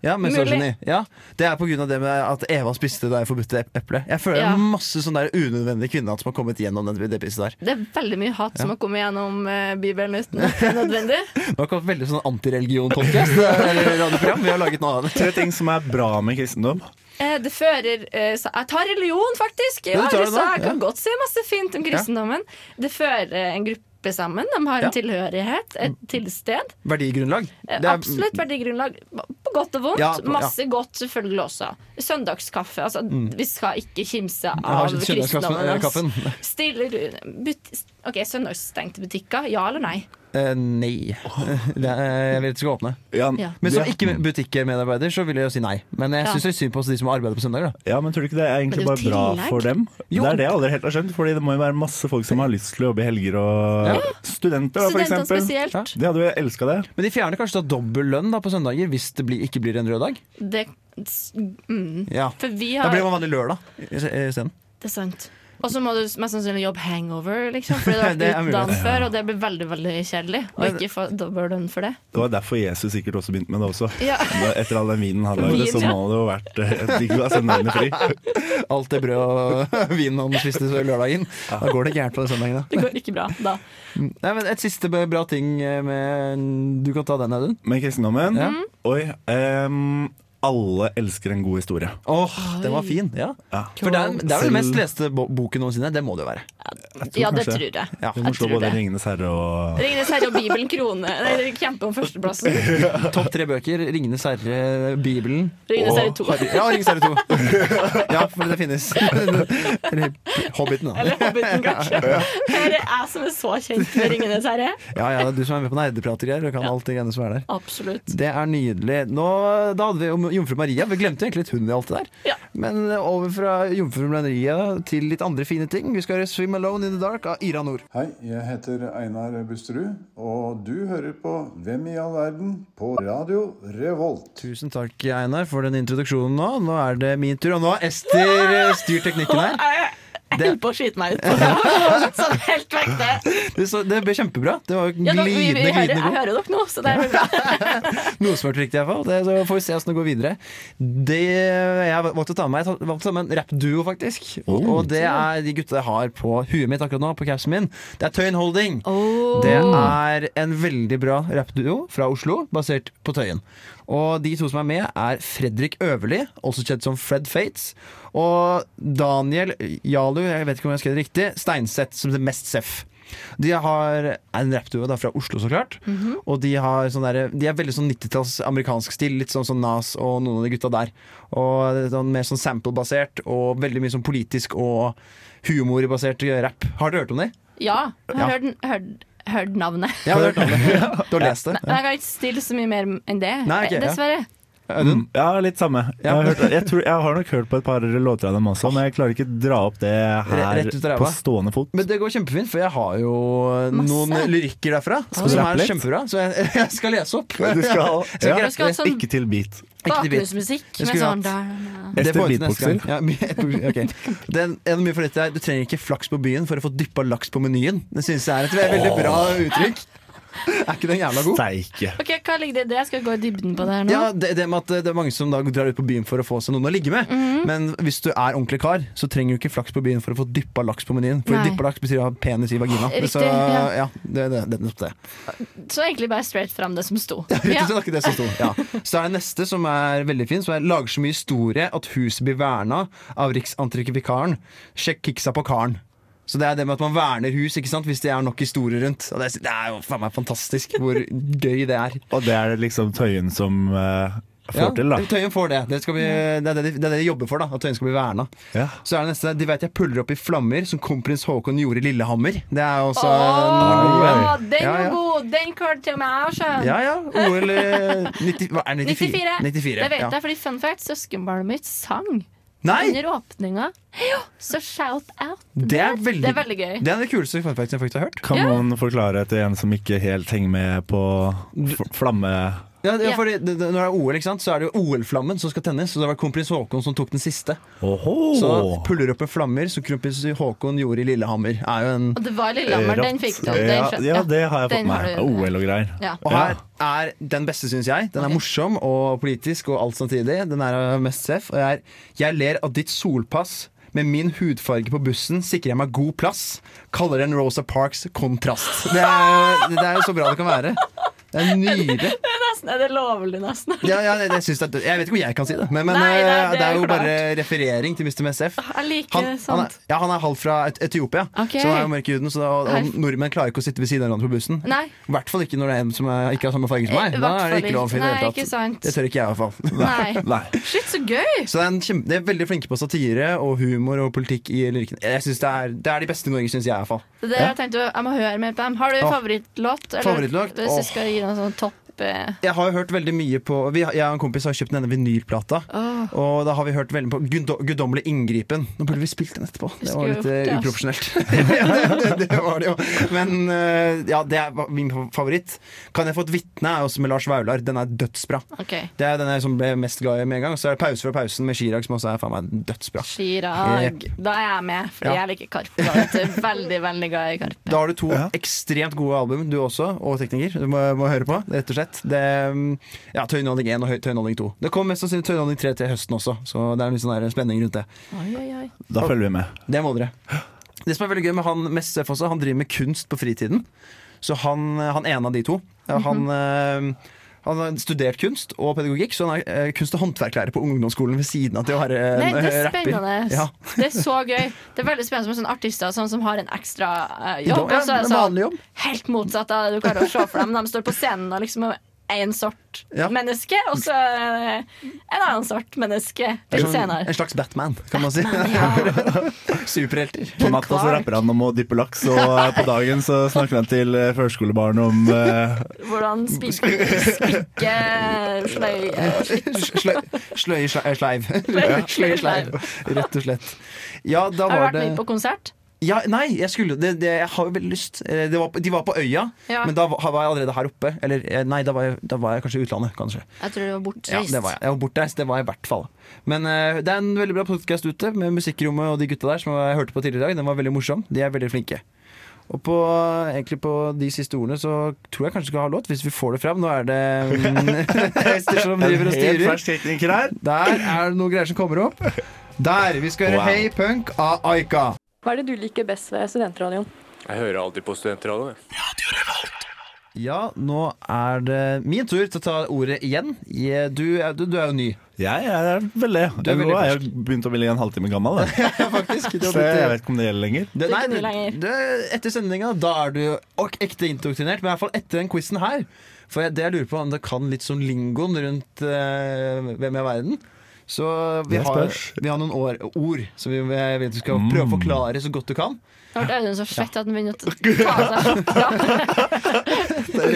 Speaker 5: Ja, misogyni. Ja, det er på grunn av det med at Eva spiste det forbudte ep- eplet. Jeg føler det
Speaker 6: Ja.
Speaker 5: er masse sånn der unødvendig kvinnehatt som har kommet gjennom den, det pisset der.
Speaker 6: Det er veldig mye hat som har kommet gjennom eh, Bibelen uten at det er nødvendig.
Speaker 5: Det har kommet veldig sånn antireligion-podcast eh, eller radioprogram. Vi har laget noe annet.
Speaker 3: Tre ting som er bra med kristendom.
Speaker 6: Eh, det fører eh, sa- Jeg tar religion, faktisk!
Speaker 5: Ja,
Speaker 6: Ja,
Speaker 5: du tar det
Speaker 6: så
Speaker 5: nå,
Speaker 6: jeg kan
Speaker 5: ja.
Speaker 6: godt si masse fint om kristendommen. Det fører eh, en gruppe sammen. De har en
Speaker 5: Ja.
Speaker 6: tilhørighet, et tilsted.
Speaker 5: Verdigrunnlag.
Speaker 6: Eh,
Speaker 5: Det er-
Speaker 6: Absolutt verdigrunnlag. På godt og vondt.
Speaker 5: Ja, på- ja.
Speaker 6: Masse godt, selvfølgelig også. Søndagskaffe. Altså, Vi skal ikke kimse
Speaker 5: Jeg Mm. har
Speaker 6: av
Speaker 5: ikke søndagskaffen.
Speaker 6: kristendommen.
Speaker 5: eh,
Speaker 6: altså.
Speaker 5: kaffen.
Speaker 6: Stiller du but, OK, søndagsstengte butikker. Ja eller nei?
Speaker 5: Eh, nei. Det er- Jeg vil ikke skal åpne.
Speaker 3: Jan,
Speaker 6: Ja.
Speaker 5: Men som
Speaker 3: du-
Speaker 5: ikke butikkmedarbeider så vil jeg jo si nei. Men jeg
Speaker 6: Ja.
Speaker 5: syns det er synd på oss de som arbeider på søndager. da.
Speaker 3: Ja, men tror du ikke det er egentlig
Speaker 6: Men
Speaker 3: bare
Speaker 6: det er jo
Speaker 3: bra
Speaker 6: tillegg.
Speaker 3: for dem?
Speaker 5: Jo.
Speaker 3: Det er det jeg aldri helt har skjønt, Fordi det må jo være masse folk som har lyst til å jobbe i helger, og
Speaker 5: Ja.
Speaker 3: studenter, da, for
Speaker 6: Studentene
Speaker 3: eksempel.
Speaker 6: spesielt.
Speaker 5: Ja.
Speaker 3: De hadde jo elska det.
Speaker 5: Men de fjerner kanskje da dobbel lønn da på søndager hvis det blir, ikke blir en rød dag?
Speaker 6: Det, mm,
Speaker 5: Ja.
Speaker 6: for vi
Speaker 5: Da
Speaker 6: har
Speaker 5: blir man vanlig lørdag i- i- isteden.
Speaker 6: Det er sant. Og så må du mest sannsynlig jobbe hangover, liksom, fordi du har
Speaker 5: Det er
Speaker 6: vært ute
Speaker 5: mulig.
Speaker 6: dagen før, og det blir veldig veldig kjedelig. Og ikke få dobbel lønn for det.
Speaker 3: Det var derfor Jesus sikkert også begynte med det også.
Speaker 6: Ja.
Speaker 3: Da- Etter all den vinen han lagde,
Speaker 6: Vin,
Speaker 3: så
Speaker 6: ja.
Speaker 3: må det jo vært eh, digg å ha søndagene fri.
Speaker 5: Alt det brød og vinen han spiste så lørdagen. Da går det gærent på den søndagen. da.
Speaker 6: Det går ikke bra da.
Speaker 5: Nei, men Et siste b- bra ting eh, med Du kan ta den, Audun.
Speaker 3: Med kristendommen
Speaker 5: Ja.
Speaker 3: Oi. ehm, alle elsker en god historie.
Speaker 5: Åh, den var fin. ja
Speaker 3: Ja.
Speaker 5: For det er, det er vel
Speaker 3: Selv-
Speaker 5: den mest leste bo boken noensinne. Det må det jo være.
Speaker 6: Ja, det
Speaker 3: kanskje-
Speaker 6: tror jeg.
Speaker 5: Ja.
Speaker 3: Du må
Speaker 6: Jeg
Speaker 3: slå
Speaker 6: tror
Speaker 3: både
Speaker 6: det.
Speaker 3: Ringenes herre og
Speaker 6: Ringenes herre og Bibelen krone. Nei, dere kjemper om førsteplassen.
Speaker 5: Topp tre bøker. 'Ringenes herre', Bibelen
Speaker 6: Ringenes herre
Speaker 5: og
Speaker 6: to.
Speaker 5: Harry- Ja, 'Ringenes herre 2'. Ja, for det finnes. Eller Hobbiten, da.
Speaker 6: Eller Hobbiten, kanskje. Det er jeg som er så kjent med Ringenes herre.
Speaker 5: Ja, ja, det er du som er med på nerdeprater her og kan alt det greiene som er der.
Speaker 6: Absolutt.
Speaker 5: Det er nydelig. Nå, da hadde vi jo Jomfru Maria. Vi glemte egentlig litt hun i alt det der.
Speaker 6: Ja.
Speaker 5: Men eh, over fra Jomfru Maria til litt andre fine ting. Vi skal høre 'Swim Alone in the Dark' av Ira Nord.
Speaker 9: Hei, jeg heter Einar Busterud, og du hører på Hvem i all verden på Radio Revolt.
Speaker 5: Tusen takk, Einar, for den introduksjonen nå. Nå er det min tur, og nå har Ester eh, styrt teknikken her.
Speaker 6: Jeg holdt på å skyte meg ut. Sånn helt vekk, det.
Speaker 5: Det, så, det ble kjempebra. Det var jo
Speaker 6: Ja,
Speaker 5: glidende,
Speaker 6: da, vi, vi, vi hører,
Speaker 5: glidende
Speaker 6: jeg
Speaker 5: god.
Speaker 6: hører dere nå, så det er bra.
Speaker 5: Noe som var riktig, iallfall. Så får vi se åssen det går videre. Det jeg valgte å ta med meg, jeg valgte å ta med en rappduo, faktisk. Og, og det er de gutta jeg har på huet mitt akkurat nå, på capsen min. Det er Tøyen Holding. Det er en veldig bra rappduo fra Oslo, basert på Tøyen. Og de to som er med, er Fredrik Øverli, også kjent som Fred Fates, og Daniel Jalu, jeg vet ikke om jeg skrev det riktig, Steinseth, som det mest seff. De har er en rappduo da fra Oslo, så klart. Og de, har sånn derre- de er veldig sånn 90-talls amerikansk stil, litt sånn som Nas og noen av de gutta der. Og det er sånn, Mer sånn sample-basert og veldig mye sånn politisk og humorbasert rapp. Har dere hørt om de?
Speaker 6: Ja, jeg
Speaker 5: Ja.
Speaker 6: har hørt, hørt, hørt navnet.
Speaker 5: Jeg har hørt om det. Du har lest det?
Speaker 6: Nei, Jeg kan ikke stille så mye mer enn det,
Speaker 5: Nei, ok, ja.
Speaker 6: dessverre.
Speaker 5: Audun?
Speaker 3: Ja, litt samme. Jeg har, hørt, jeg, tror, jeg har nok hørt på et par låter av dem også, men jeg klarer ikke dra opp det
Speaker 5: Re-
Speaker 3: her
Speaker 5: rett ut av ræva.
Speaker 3: på stående fot.
Speaker 5: Men det går kjempefint, for jeg har jo noen lyrikker derfra.
Speaker 3: du
Speaker 5: som
Speaker 3: rappe
Speaker 5: er
Speaker 3: litt?
Speaker 5: kjempebra, så jeg, jeg skal lese opp.
Speaker 3: Du skal,
Speaker 5: Skal
Speaker 3: ja.
Speaker 6: Du skal ha sånn
Speaker 3: Ikke til beat.
Speaker 5: Ikke til bit. Jeg
Speaker 6: bakgrunnsmusikk med
Speaker 5: skulle
Speaker 6: sånn da,
Speaker 5: Det
Speaker 3: Etter
Speaker 5: får jeg til neste
Speaker 3: beatboxer.
Speaker 5: gang. Ja, beatboxer, ok. Det er en- en av mye for dette her. Du trenger ikke flaks på byen for å få dyppa laks på menyen. Det synes jeg er et veldig bra uttrykk. Er ikke den jævla god?
Speaker 3: Steike.
Speaker 6: Ok, Hva ligger det i det? Jeg skal gå i dybden på det her nå.
Speaker 5: Ja, det, det med at det er mange som da drar ut på byen for å få seg noen å ligge med.
Speaker 6: Mhm.
Speaker 5: Men hvis du er ordentlig kar, så trenger du ikke flaks på byen for å få dyppa laks på menyen. For
Speaker 6: Nei.
Speaker 5: dyppa laks betyr å ha penis i vagina.
Speaker 6: Riktig,
Speaker 5: så
Speaker 6: ja.
Speaker 5: ja, det, det, det er nettopp det.
Speaker 6: Så egentlig bare straight fram det som sto.
Speaker 5: Rett
Speaker 6: Ja.
Speaker 5: og slett akkurat det som sto. Ja. Så er det neste, som er veldig fin, som er 'Lager så mye historie at huset blir verna av riksantikvikaren'. Sjekk kiksa på karen. Så det er det med at man verner hus ikke sant? hvis det er nok historie rundt. Og det er, det er jo faen meg fantastisk hvor gøy det er.
Speaker 3: Og det er det liksom Tøyen som eh, får
Speaker 5: Ja,
Speaker 3: til, da.
Speaker 5: Tøyen får det. Det, skal vi, det, er det, de, det er det de jobber for, da, at Tøyen skal bli verna.
Speaker 3: Ja.
Speaker 5: Så er det neste. De veit jeg puller opp i flammer, som kronprins Haakon gjorde i Lillehammer. Det er jo også
Speaker 6: Åh, ja, den
Speaker 5: Ja,
Speaker 6: var
Speaker 5: ja.
Speaker 6: god! Den klarte til og med jeg å skjønne.
Speaker 5: Ja ja. OL eh, 90, hva er det, 94.
Speaker 6: 94.
Speaker 5: 94,
Speaker 6: Det
Speaker 5: ja.
Speaker 6: vet jeg, fordi fun fact, søskenbarnet mitt sang
Speaker 5: Nei!
Speaker 6: under åpninga. Ja, så shout out.
Speaker 5: Det er veldig,
Speaker 6: Det er veldig gøy.
Speaker 5: Det er den kuleste fun facten jeg faktisk har hørt.
Speaker 3: Kan
Speaker 6: Ja.
Speaker 3: noen forklare til en som ikke helt henger med på f- flamme...
Speaker 5: Ja, ja,
Speaker 6: Ja.
Speaker 5: fordi det, det, når det er OL, ikke sant, så er det jo OL-flammen som skal tennes. Så det var kronprins Haakon som tok den siste. Så puller opp med flammer, som kronprins Haakon gjorde i Lillehammer. Er jo en
Speaker 6: Og det var Lillehammer, den fikk du. Den
Speaker 3: Ja,
Speaker 6: skjønte
Speaker 3: ja, det har jeg fått
Speaker 6: Den
Speaker 3: med
Speaker 6: har
Speaker 3: meg.
Speaker 6: du-
Speaker 3: OL og greier.
Speaker 6: Ja.
Speaker 5: og her er den beste, syns jeg. Den er
Speaker 6: Ok.
Speaker 5: morsom og politisk og alt samtidig. Den er eh, mest seff. Og jeg, er, jeg ler av ditt solpass. Med min hudfarge på bussen sikrer jeg meg god plass. Kaller den Rosa Parks kontrast. Det er, det er jo så bra det kan være. Det er nydelig.
Speaker 6: Nesten er det lovlig, nesten.
Speaker 5: Ja, ja, det, det syns jeg, jeg vet ikke om jeg kan si det, men, men
Speaker 6: Nei, nei,
Speaker 5: eh, det,
Speaker 6: det er
Speaker 5: er jo
Speaker 6: klart.
Speaker 5: bare referering til Mr. MSF.
Speaker 6: Jeg liker
Speaker 5: Han, han, er,
Speaker 6: sånt.
Speaker 5: ja, han er halvt fra Et- Etiopia,
Speaker 6: Ok.
Speaker 5: så han er jo mørkehuden. Så da, og,
Speaker 6: Her-
Speaker 5: og nordmenn klarer ikke å sitte ved siden av hverandre på bussen.
Speaker 6: Nei. Eh,
Speaker 5: I hvert fall ikke når det er en som er, ikke har samme farge som meg. Da
Speaker 6: I hvert
Speaker 5: er det
Speaker 6: fall
Speaker 5: ikke lov å finne
Speaker 6: Nei,
Speaker 5: det
Speaker 6: ikke
Speaker 5: hele tatt.
Speaker 6: sant.
Speaker 5: Det tør ikke jeg, i hvert fall.
Speaker 6: Nei. Shit, så gøy!
Speaker 5: Så det er, en kjempe, det er veldig flinke på satire og humor og politikk i lyrikken. Jeg synes det, er, det er de beste i Norge, syns jeg, i hvert fall.
Speaker 6: Det der, jeg tenkte, jeg må høre mer på dem. Har du
Speaker 5: Åh.
Speaker 6: favorittlåt? eller
Speaker 5: Favorittlåt?
Speaker 6: Hvis
Speaker 5: Åh.
Speaker 6: du skal gi noen sånn topp eh,
Speaker 5: Jeg har jo hørt veldig mye på vi, har- Jeg og en kompis har kjøpt denne vinylplata.
Speaker 6: åh.
Speaker 5: Og da har vi hørt veldig på Guddo- Guddommelig inngripen. Nå burde vi spilt den etterpå. Det var
Speaker 6: skulle
Speaker 5: litt
Speaker 6: gjort det,
Speaker 5: eh,
Speaker 6: ass.
Speaker 5: uprofesjonelt. ja, det, det, det var det jo. Men eh, ja, det er min favoritt. Kan jeg få et vitne? er også med Lars Vaular. Den er dødsbra.
Speaker 6: OK.
Speaker 5: Det er den jeg som ble mest glad i med en gang. Og så er det pause fra pausen med Chirag, som også er faen meg dødsbra.
Speaker 6: Chirag. Da er jeg med, fordi
Speaker 5: Ja.
Speaker 6: jeg liker Karpe. da, vet du. Veldig, veldig glad i Karpe.
Speaker 5: Da har du to
Speaker 3: Ja.
Speaker 5: ekstremt gode album, du også, og teknikker. Du må, må høre på, rett og slett. Det, mm, ja, Tøyenholdning 1 og Høy- Tøyenholdning 2. Det kommer mest sannsynlig Tøyenholdning 3 til høsten også, så det er en litt sånn der spenning rundt det.
Speaker 6: Oi, oi, oi.
Speaker 3: Da følger vi med.
Speaker 5: Det må dere. Det som er veldig gøy med han Mest Seff også, han driver med kunst på fritiden. Så han, han ene av de to. ja,
Speaker 6: Mhm.
Speaker 5: Han, eh, han har studert kunst og pedagogikk, så han er eh, kunst- og håndverklærer på ungdomsskolen ved siden av til å være eh,
Speaker 6: Nei, det er
Speaker 5: rapper.
Speaker 6: spennende.
Speaker 5: Ja.
Speaker 6: Det er så gøy. Det er veldig spennende med sånne artister sånn som har en ekstra eh, jobb.
Speaker 5: Ja,
Speaker 6: og så er det
Speaker 5: en
Speaker 6: sånn,
Speaker 5: vanlig jobb.
Speaker 6: helt motsatt av det du klarer å se for deg. Men de står på scenen og liksom er en sort
Speaker 5: Ja.
Speaker 6: menneske, og så eh, en annen sort menneske litt senere.
Speaker 5: En slags Batman, kan man si. Superhelter.
Speaker 3: På natta så
Speaker 6: Clark.
Speaker 3: rapper han om å dyppe laks, og eh, på dagen så snakker han til eh, førskolebarn om eh,
Speaker 6: Hvordan spikke, spikke eh, sløye
Speaker 5: Sløy, sløy, sløy, sleiv.
Speaker 6: Sløy-
Speaker 5: Sløy, sleiv. Rett og slett. Ja, da
Speaker 6: Har du
Speaker 5: var
Speaker 6: vært
Speaker 5: det
Speaker 6: mye på konsert?
Speaker 5: Ja, nei, jeg skulle det, det, Jeg har jo veldig lyst Eh, det var, på- De var på øya
Speaker 6: Ja.
Speaker 5: Men da var var jeg allerede her oppe Eller eh, nei, da var jeg, da var jeg kanskje i utlandet Kanskje
Speaker 6: Jeg tror du var
Speaker 5: Ja,
Speaker 6: bortreist.
Speaker 5: det var jeg Jeg var bortreist, det var jeg i hvert fall Men eh, det er en veldig bra podcast ute Med musikkrommet og de gutta der Som jeg hørte på tidligere i dag Den var veldig morsom De er veldig flinke og på, eh, egentlig på de siste ordene Så tror jeg kanskje skal ha låt Hvis vi får det frem Nå er det mm, Ester som driver og
Speaker 3: Helt
Speaker 5: styrer
Speaker 3: fersk tekniker her.
Speaker 5: Der er det noen greier som kommer opp Der, vi skal høre
Speaker 3: Wow.
Speaker 5: Hey Punk av Aika
Speaker 10: Hva er det du liker best ved studentradioen?
Speaker 7: Jeg hører alltid på studentradioen.
Speaker 5: Ja, nå er det min tur til å ta ordet igjen. Je- Du, er- du, du er jo ny,
Speaker 3: Jeg er vel det.
Speaker 5: Du er veldig
Speaker 3: Nå er jeg begynt å bli en halvtime gammel. Da.
Speaker 5: faktisk. Du har
Speaker 3: Så jeg
Speaker 5: blitt,
Speaker 3: vet ikke om det gjelder lenger.
Speaker 5: det, nei,
Speaker 6: ikke ny lenger.
Speaker 5: du, etter sendinga, da er du ok, ekte indoktrinert. Men i hvert fall etter den quizen her. For jeg, det jeg lurer på om det kan litt sånn lingoen rundt eh, Hvem er verden? Så vi
Speaker 3: Det
Speaker 5: har,
Speaker 3: spørs. Mm.
Speaker 5: vi har noen år, ord som vi jeg vet du skal prøve å forklare så godt du kan.
Speaker 6: Da ble Audun så fett at han begynner å ta seg skjorta.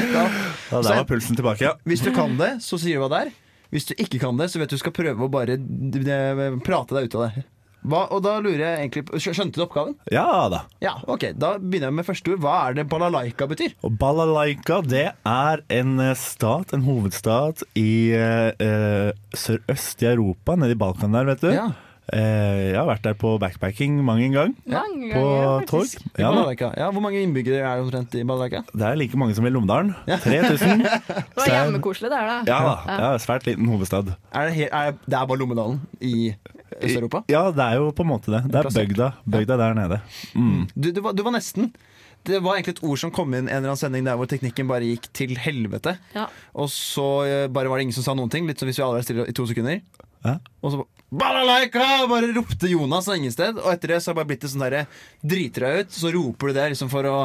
Speaker 3: Ja, der var pulsen tilbake. Ja.
Speaker 5: Hvis du kan det, så sier du hva det er. Hvis du ikke kan det, så vet du du skal prøve å bare d- d- prate deg ut av det. Hva, og da lurer jeg egentlig på, skjø- Skjønte du oppgaven?
Speaker 3: ja da.
Speaker 5: Ja, ok, Da begynner jeg med første ord. Hva er det balalaika betyr?
Speaker 3: Og Balalaika det er en eh, stat, en hovedstat i eh, eh, sørøst i Europa, nede i Balkan der, vet du.
Speaker 5: Ja.
Speaker 3: Eh, jeg har vært der på backpacking mang en gang.
Speaker 6: Mange
Speaker 3: På
Speaker 6: ganger,
Speaker 3: torg.
Speaker 6: faktisk.
Speaker 5: Ja.
Speaker 3: Ja, da.
Speaker 5: Balalaika. Ja, Hvor mange innbyggere er det omtrent i balalaika?
Speaker 3: det er like mange som i Lomdalen. 3000.
Speaker 6: Det var hjemmekoselig der, da.
Speaker 3: Ja da. Ja, svært liten hovedstad.
Speaker 5: Er det, he- er, det er bare Lommedalen i Øst-Europa?
Speaker 3: Ja, det er jo på en måte det. Det er
Speaker 5: Plassert.
Speaker 3: bygda, bygda der nede.
Speaker 5: Du, du, var- du var nesten. Det var egentlig et ord som kom inn en eller annen sending der hvor teknikken bare gikk til helvete.
Speaker 6: Ja.
Speaker 5: Og så eh, bare var det ingen som sa noen ting. Litt som hvis vi alle var stille i to sekunder.
Speaker 3: Ja.
Speaker 5: Og så bare, Balalaika! bare ropte Jonas av ingen sted. Og etter det så har det bare blitt det sånn derre Driter deg ut, så roper du det liksom for å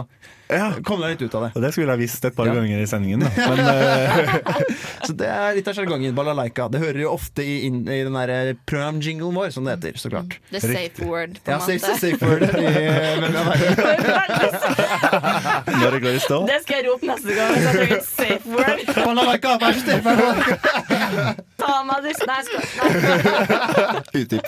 Speaker 5: komme deg litt ut av det.
Speaker 3: Og det skulle jeg visst et par
Speaker 5: Ja.
Speaker 3: ganger i sendingen. Da. Men eh,
Speaker 5: Så det er litt av sjargongen. Balalaika. Det hører jo ofte i, inn- i den derre prom-jinglen vår, som det heter. Så klart.
Speaker 6: The safe word, på
Speaker 5: Ja,
Speaker 6: en
Speaker 5: safe,
Speaker 6: måte.
Speaker 5: safe word. i, eh, Hvem er verden?
Speaker 6: Veldig safe.
Speaker 3: når det går i stå
Speaker 6: Det skal jeg rope neste gang. hvis Jeg trenger et safe word.
Speaker 5: Balalaika, vær så snill!
Speaker 6: Ta meg dust Nei, jeg skal- nei.
Speaker 5: Utdyp.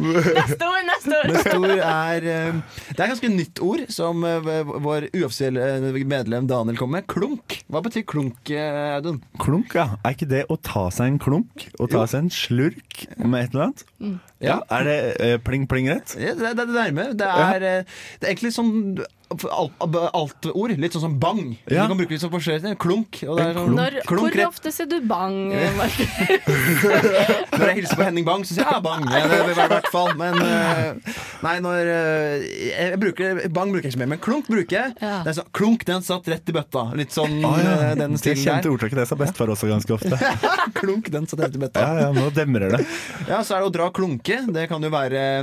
Speaker 6: Neste ord, neste ord!
Speaker 5: Neste ord er eh, Det er et ganske nytt ord som eh, vår uoffisielle eh, medlem Daniel kom med. Klunk. Hva betyr klunk, eh, Audun?
Speaker 3: Klunk, ja. Er ikke det å ta seg en klunk? Å ta
Speaker 5: Jo.
Speaker 3: seg en slurk med et eller annet?
Speaker 5: Mm.
Speaker 3: Ja, Er det eh, pling-pling rett?
Speaker 5: Ja, Det, det er det nærme. Det er, eh, det er egentlig sånn alt- alt-ord. Litt sånn som bang.
Speaker 3: Ja.
Speaker 5: Du kan bruke litt sånn forskjellig. Klunk. Og det er sånn,
Speaker 6: Når,
Speaker 5: klunk
Speaker 6: hvor
Speaker 5: rett.
Speaker 6: ofte ser du bang, Markus?
Speaker 5: Når jeg hilser på Henning Bang, så sier jeg ja, Bang. Ja, det vil være i hvert fall. Men eh, nei, når eh, jeg bruker, Bang bruker jeg ikke mer, men klunk bruker jeg.
Speaker 6: Ja.
Speaker 5: Det er sånn, klunk, den satt rett i bøtta. Litt sånn
Speaker 3: Ah, ja.
Speaker 5: eh, den
Speaker 3: Det
Speaker 5: stilen
Speaker 3: kjente
Speaker 5: der.
Speaker 3: ordtaket det sa bestefar også ganske ofte.
Speaker 5: klunk, den satt rett i bøtta.
Speaker 3: Ja, ja, nå demrer det.
Speaker 5: Ja, så er det å dra klunke. Det kan jo være eh,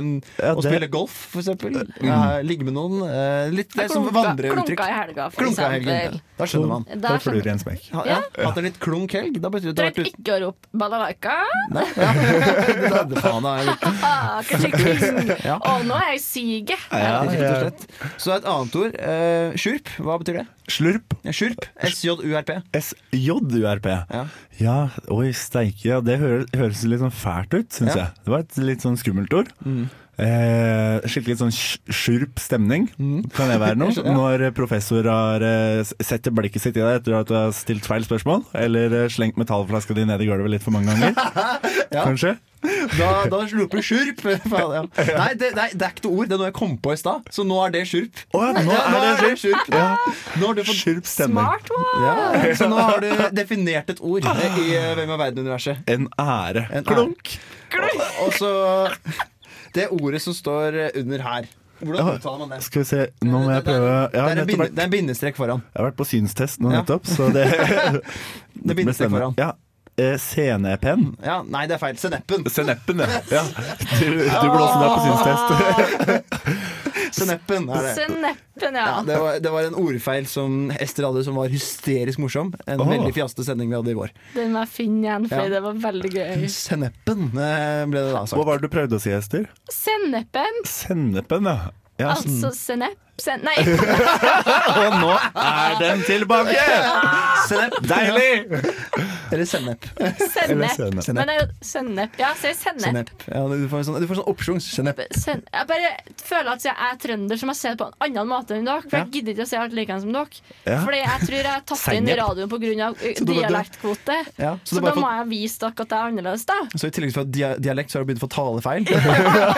Speaker 5: å
Speaker 3: Ja, det- Mm.
Speaker 5: spille golf, for eksempel. Ja, ligge med noen. eh, litt det er som
Speaker 6: Klunka-
Speaker 5: vandreuttrykk.
Speaker 6: Klunka i helga, for
Speaker 5: Klunka i helgen.
Speaker 6: eksempel.
Speaker 5: Da skjønner man.
Speaker 6: Da
Speaker 3: Da får du
Speaker 6: skjønner-
Speaker 3: i en smekk.
Speaker 5: Ha, ja.
Speaker 6: Ja.
Speaker 5: Hatt en litt klunk helg. Da betyr det at du har
Speaker 6: Trenger
Speaker 5: vært ute.
Speaker 6: ikke å rope 'balalaika'.
Speaker 5: Da- da- faen, da er jeg litt-
Speaker 6: Ah, kanskje kling.
Speaker 5: Ja.
Speaker 6: Å, nå er jeg syk.
Speaker 3: Ja,
Speaker 5: rett og
Speaker 3: ja.
Speaker 5: slett. Så et annet ord. eh, skjurp. Hva betyr det?
Speaker 3: Slurp.
Speaker 5: Ja, Skjurp. S-J-U-R-P.
Speaker 3: SJURP.
Speaker 5: Ja.
Speaker 3: Ja, oi, steike. Ja, det hø- høres litt sånn fælt ut,
Speaker 5: Ja.
Speaker 3: syns
Speaker 5: Mm.
Speaker 3: jeg. Det var et litt sånn skummelt ord. Eh, skikkelig sånn sj- skjurp stemning,
Speaker 5: Mm.
Speaker 3: kan det være noe? Når professor har eh, s- setter blikket sitt i deg etter at du har stilt feil spørsmål, eller eh, slengt metallflaska di ned i gulvet litt for mange ganger. Kanskje?
Speaker 5: Da, da roper du skjurp! Faen, ja. Nei, det, nei, det er ikke noe ord. Det er noe jeg kom på i stad. Så nå er det skjurp.
Speaker 3: Å ja, nå
Speaker 5: Ja,
Speaker 3: er det skjurp.
Speaker 5: skjurp.
Speaker 3: Ja.
Speaker 5: Nå har du fått
Speaker 3: Skjurp stemning.
Speaker 6: Smart one!
Speaker 5: ja, Så nå har du definert et ord eh, i eh, Hvem er verden-universet.
Speaker 3: En ære.
Speaker 5: En ære.
Speaker 3: Klunk.
Speaker 5: Og, og så det ordet som står eh, under her. Hvordan uttaler man det?
Speaker 3: Skal vi se, nå må jeg prøve
Speaker 5: Det
Speaker 3: Jeg har
Speaker 5: er en,
Speaker 3: nettopp
Speaker 5: binde,
Speaker 3: vært,
Speaker 5: det er en bindestrek foran.
Speaker 3: jeg har vært på synstest nå
Speaker 5: Ja.
Speaker 3: nettopp, så det
Speaker 5: Det er bindestrek
Speaker 3: bestemmer.
Speaker 5: foran.
Speaker 3: Ja. Eh, Senepen.
Speaker 5: Ja, nei, det er feil. Seneppen.
Speaker 3: Seneppen, ja. ja. Du, du blåser deg på synstest.
Speaker 5: Seneppen er det.
Speaker 6: Seneppen, ja.
Speaker 5: Ja, det, var, det var en ordfeil som Ester hadde, som var hysterisk morsom. En
Speaker 3: Åh.
Speaker 5: veldig fjaste sending vi hadde i vår.
Speaker 6: Den må jeg finne igjen, for
Speaker 5: Ja.
Speaker 6: det var veldig gøy.
Speaker 5: Seneppen eh, ble det da
Speaker 3: Hva
Speaker 5: sagt.
Speaker 3: var det du prøvde å si, Ester?
Speaker 6: Sennepen,
Speaker 3: Sennepen, ja. ja.
Speaker 6: altså sennep sen Nei,
Speaker 3: Og nå er den tilbake!
Speaker 5: Senep.
Speaker 3: Deilig!
Speaker 5: Eller sennep.
Speaker 3: Eller
Speaker 6: sennep.
Speaker 3: sennep.
Speaker 6: Men det er jo sennep. Ja, si sennep.
Speaker 5: Sennep. Ja, du får en sånn, du får en sånn oppsjungs. Sennep.
Speaker 6: Sen jeg bare føler at jeg er trønder som har sett på en annen måte enn dere. For
Speaker 5: Ja.
Speaker 6: jeg gidder ikke å se alt likende som dere.
Speaker 3: Ja.
Speaker 6: Fordi jeg tror jeg er tatt inn i
Speaker 3: Sennep.
Speaker 6: radioen pga.
Speaker 5: Så du-
Speaker 6: dialektkvote.
Speaker 5: Ja, så
Speaker 6: Så,
Speaker 5: du bare
Speaker 6: da
Speaker 5: får-
Speaker 6: må jeg vise dere at jeg er annerledes, da.
Speaker 5: Så i tillegg til å ha dia- dialekt, så har du begynt å få talefeil.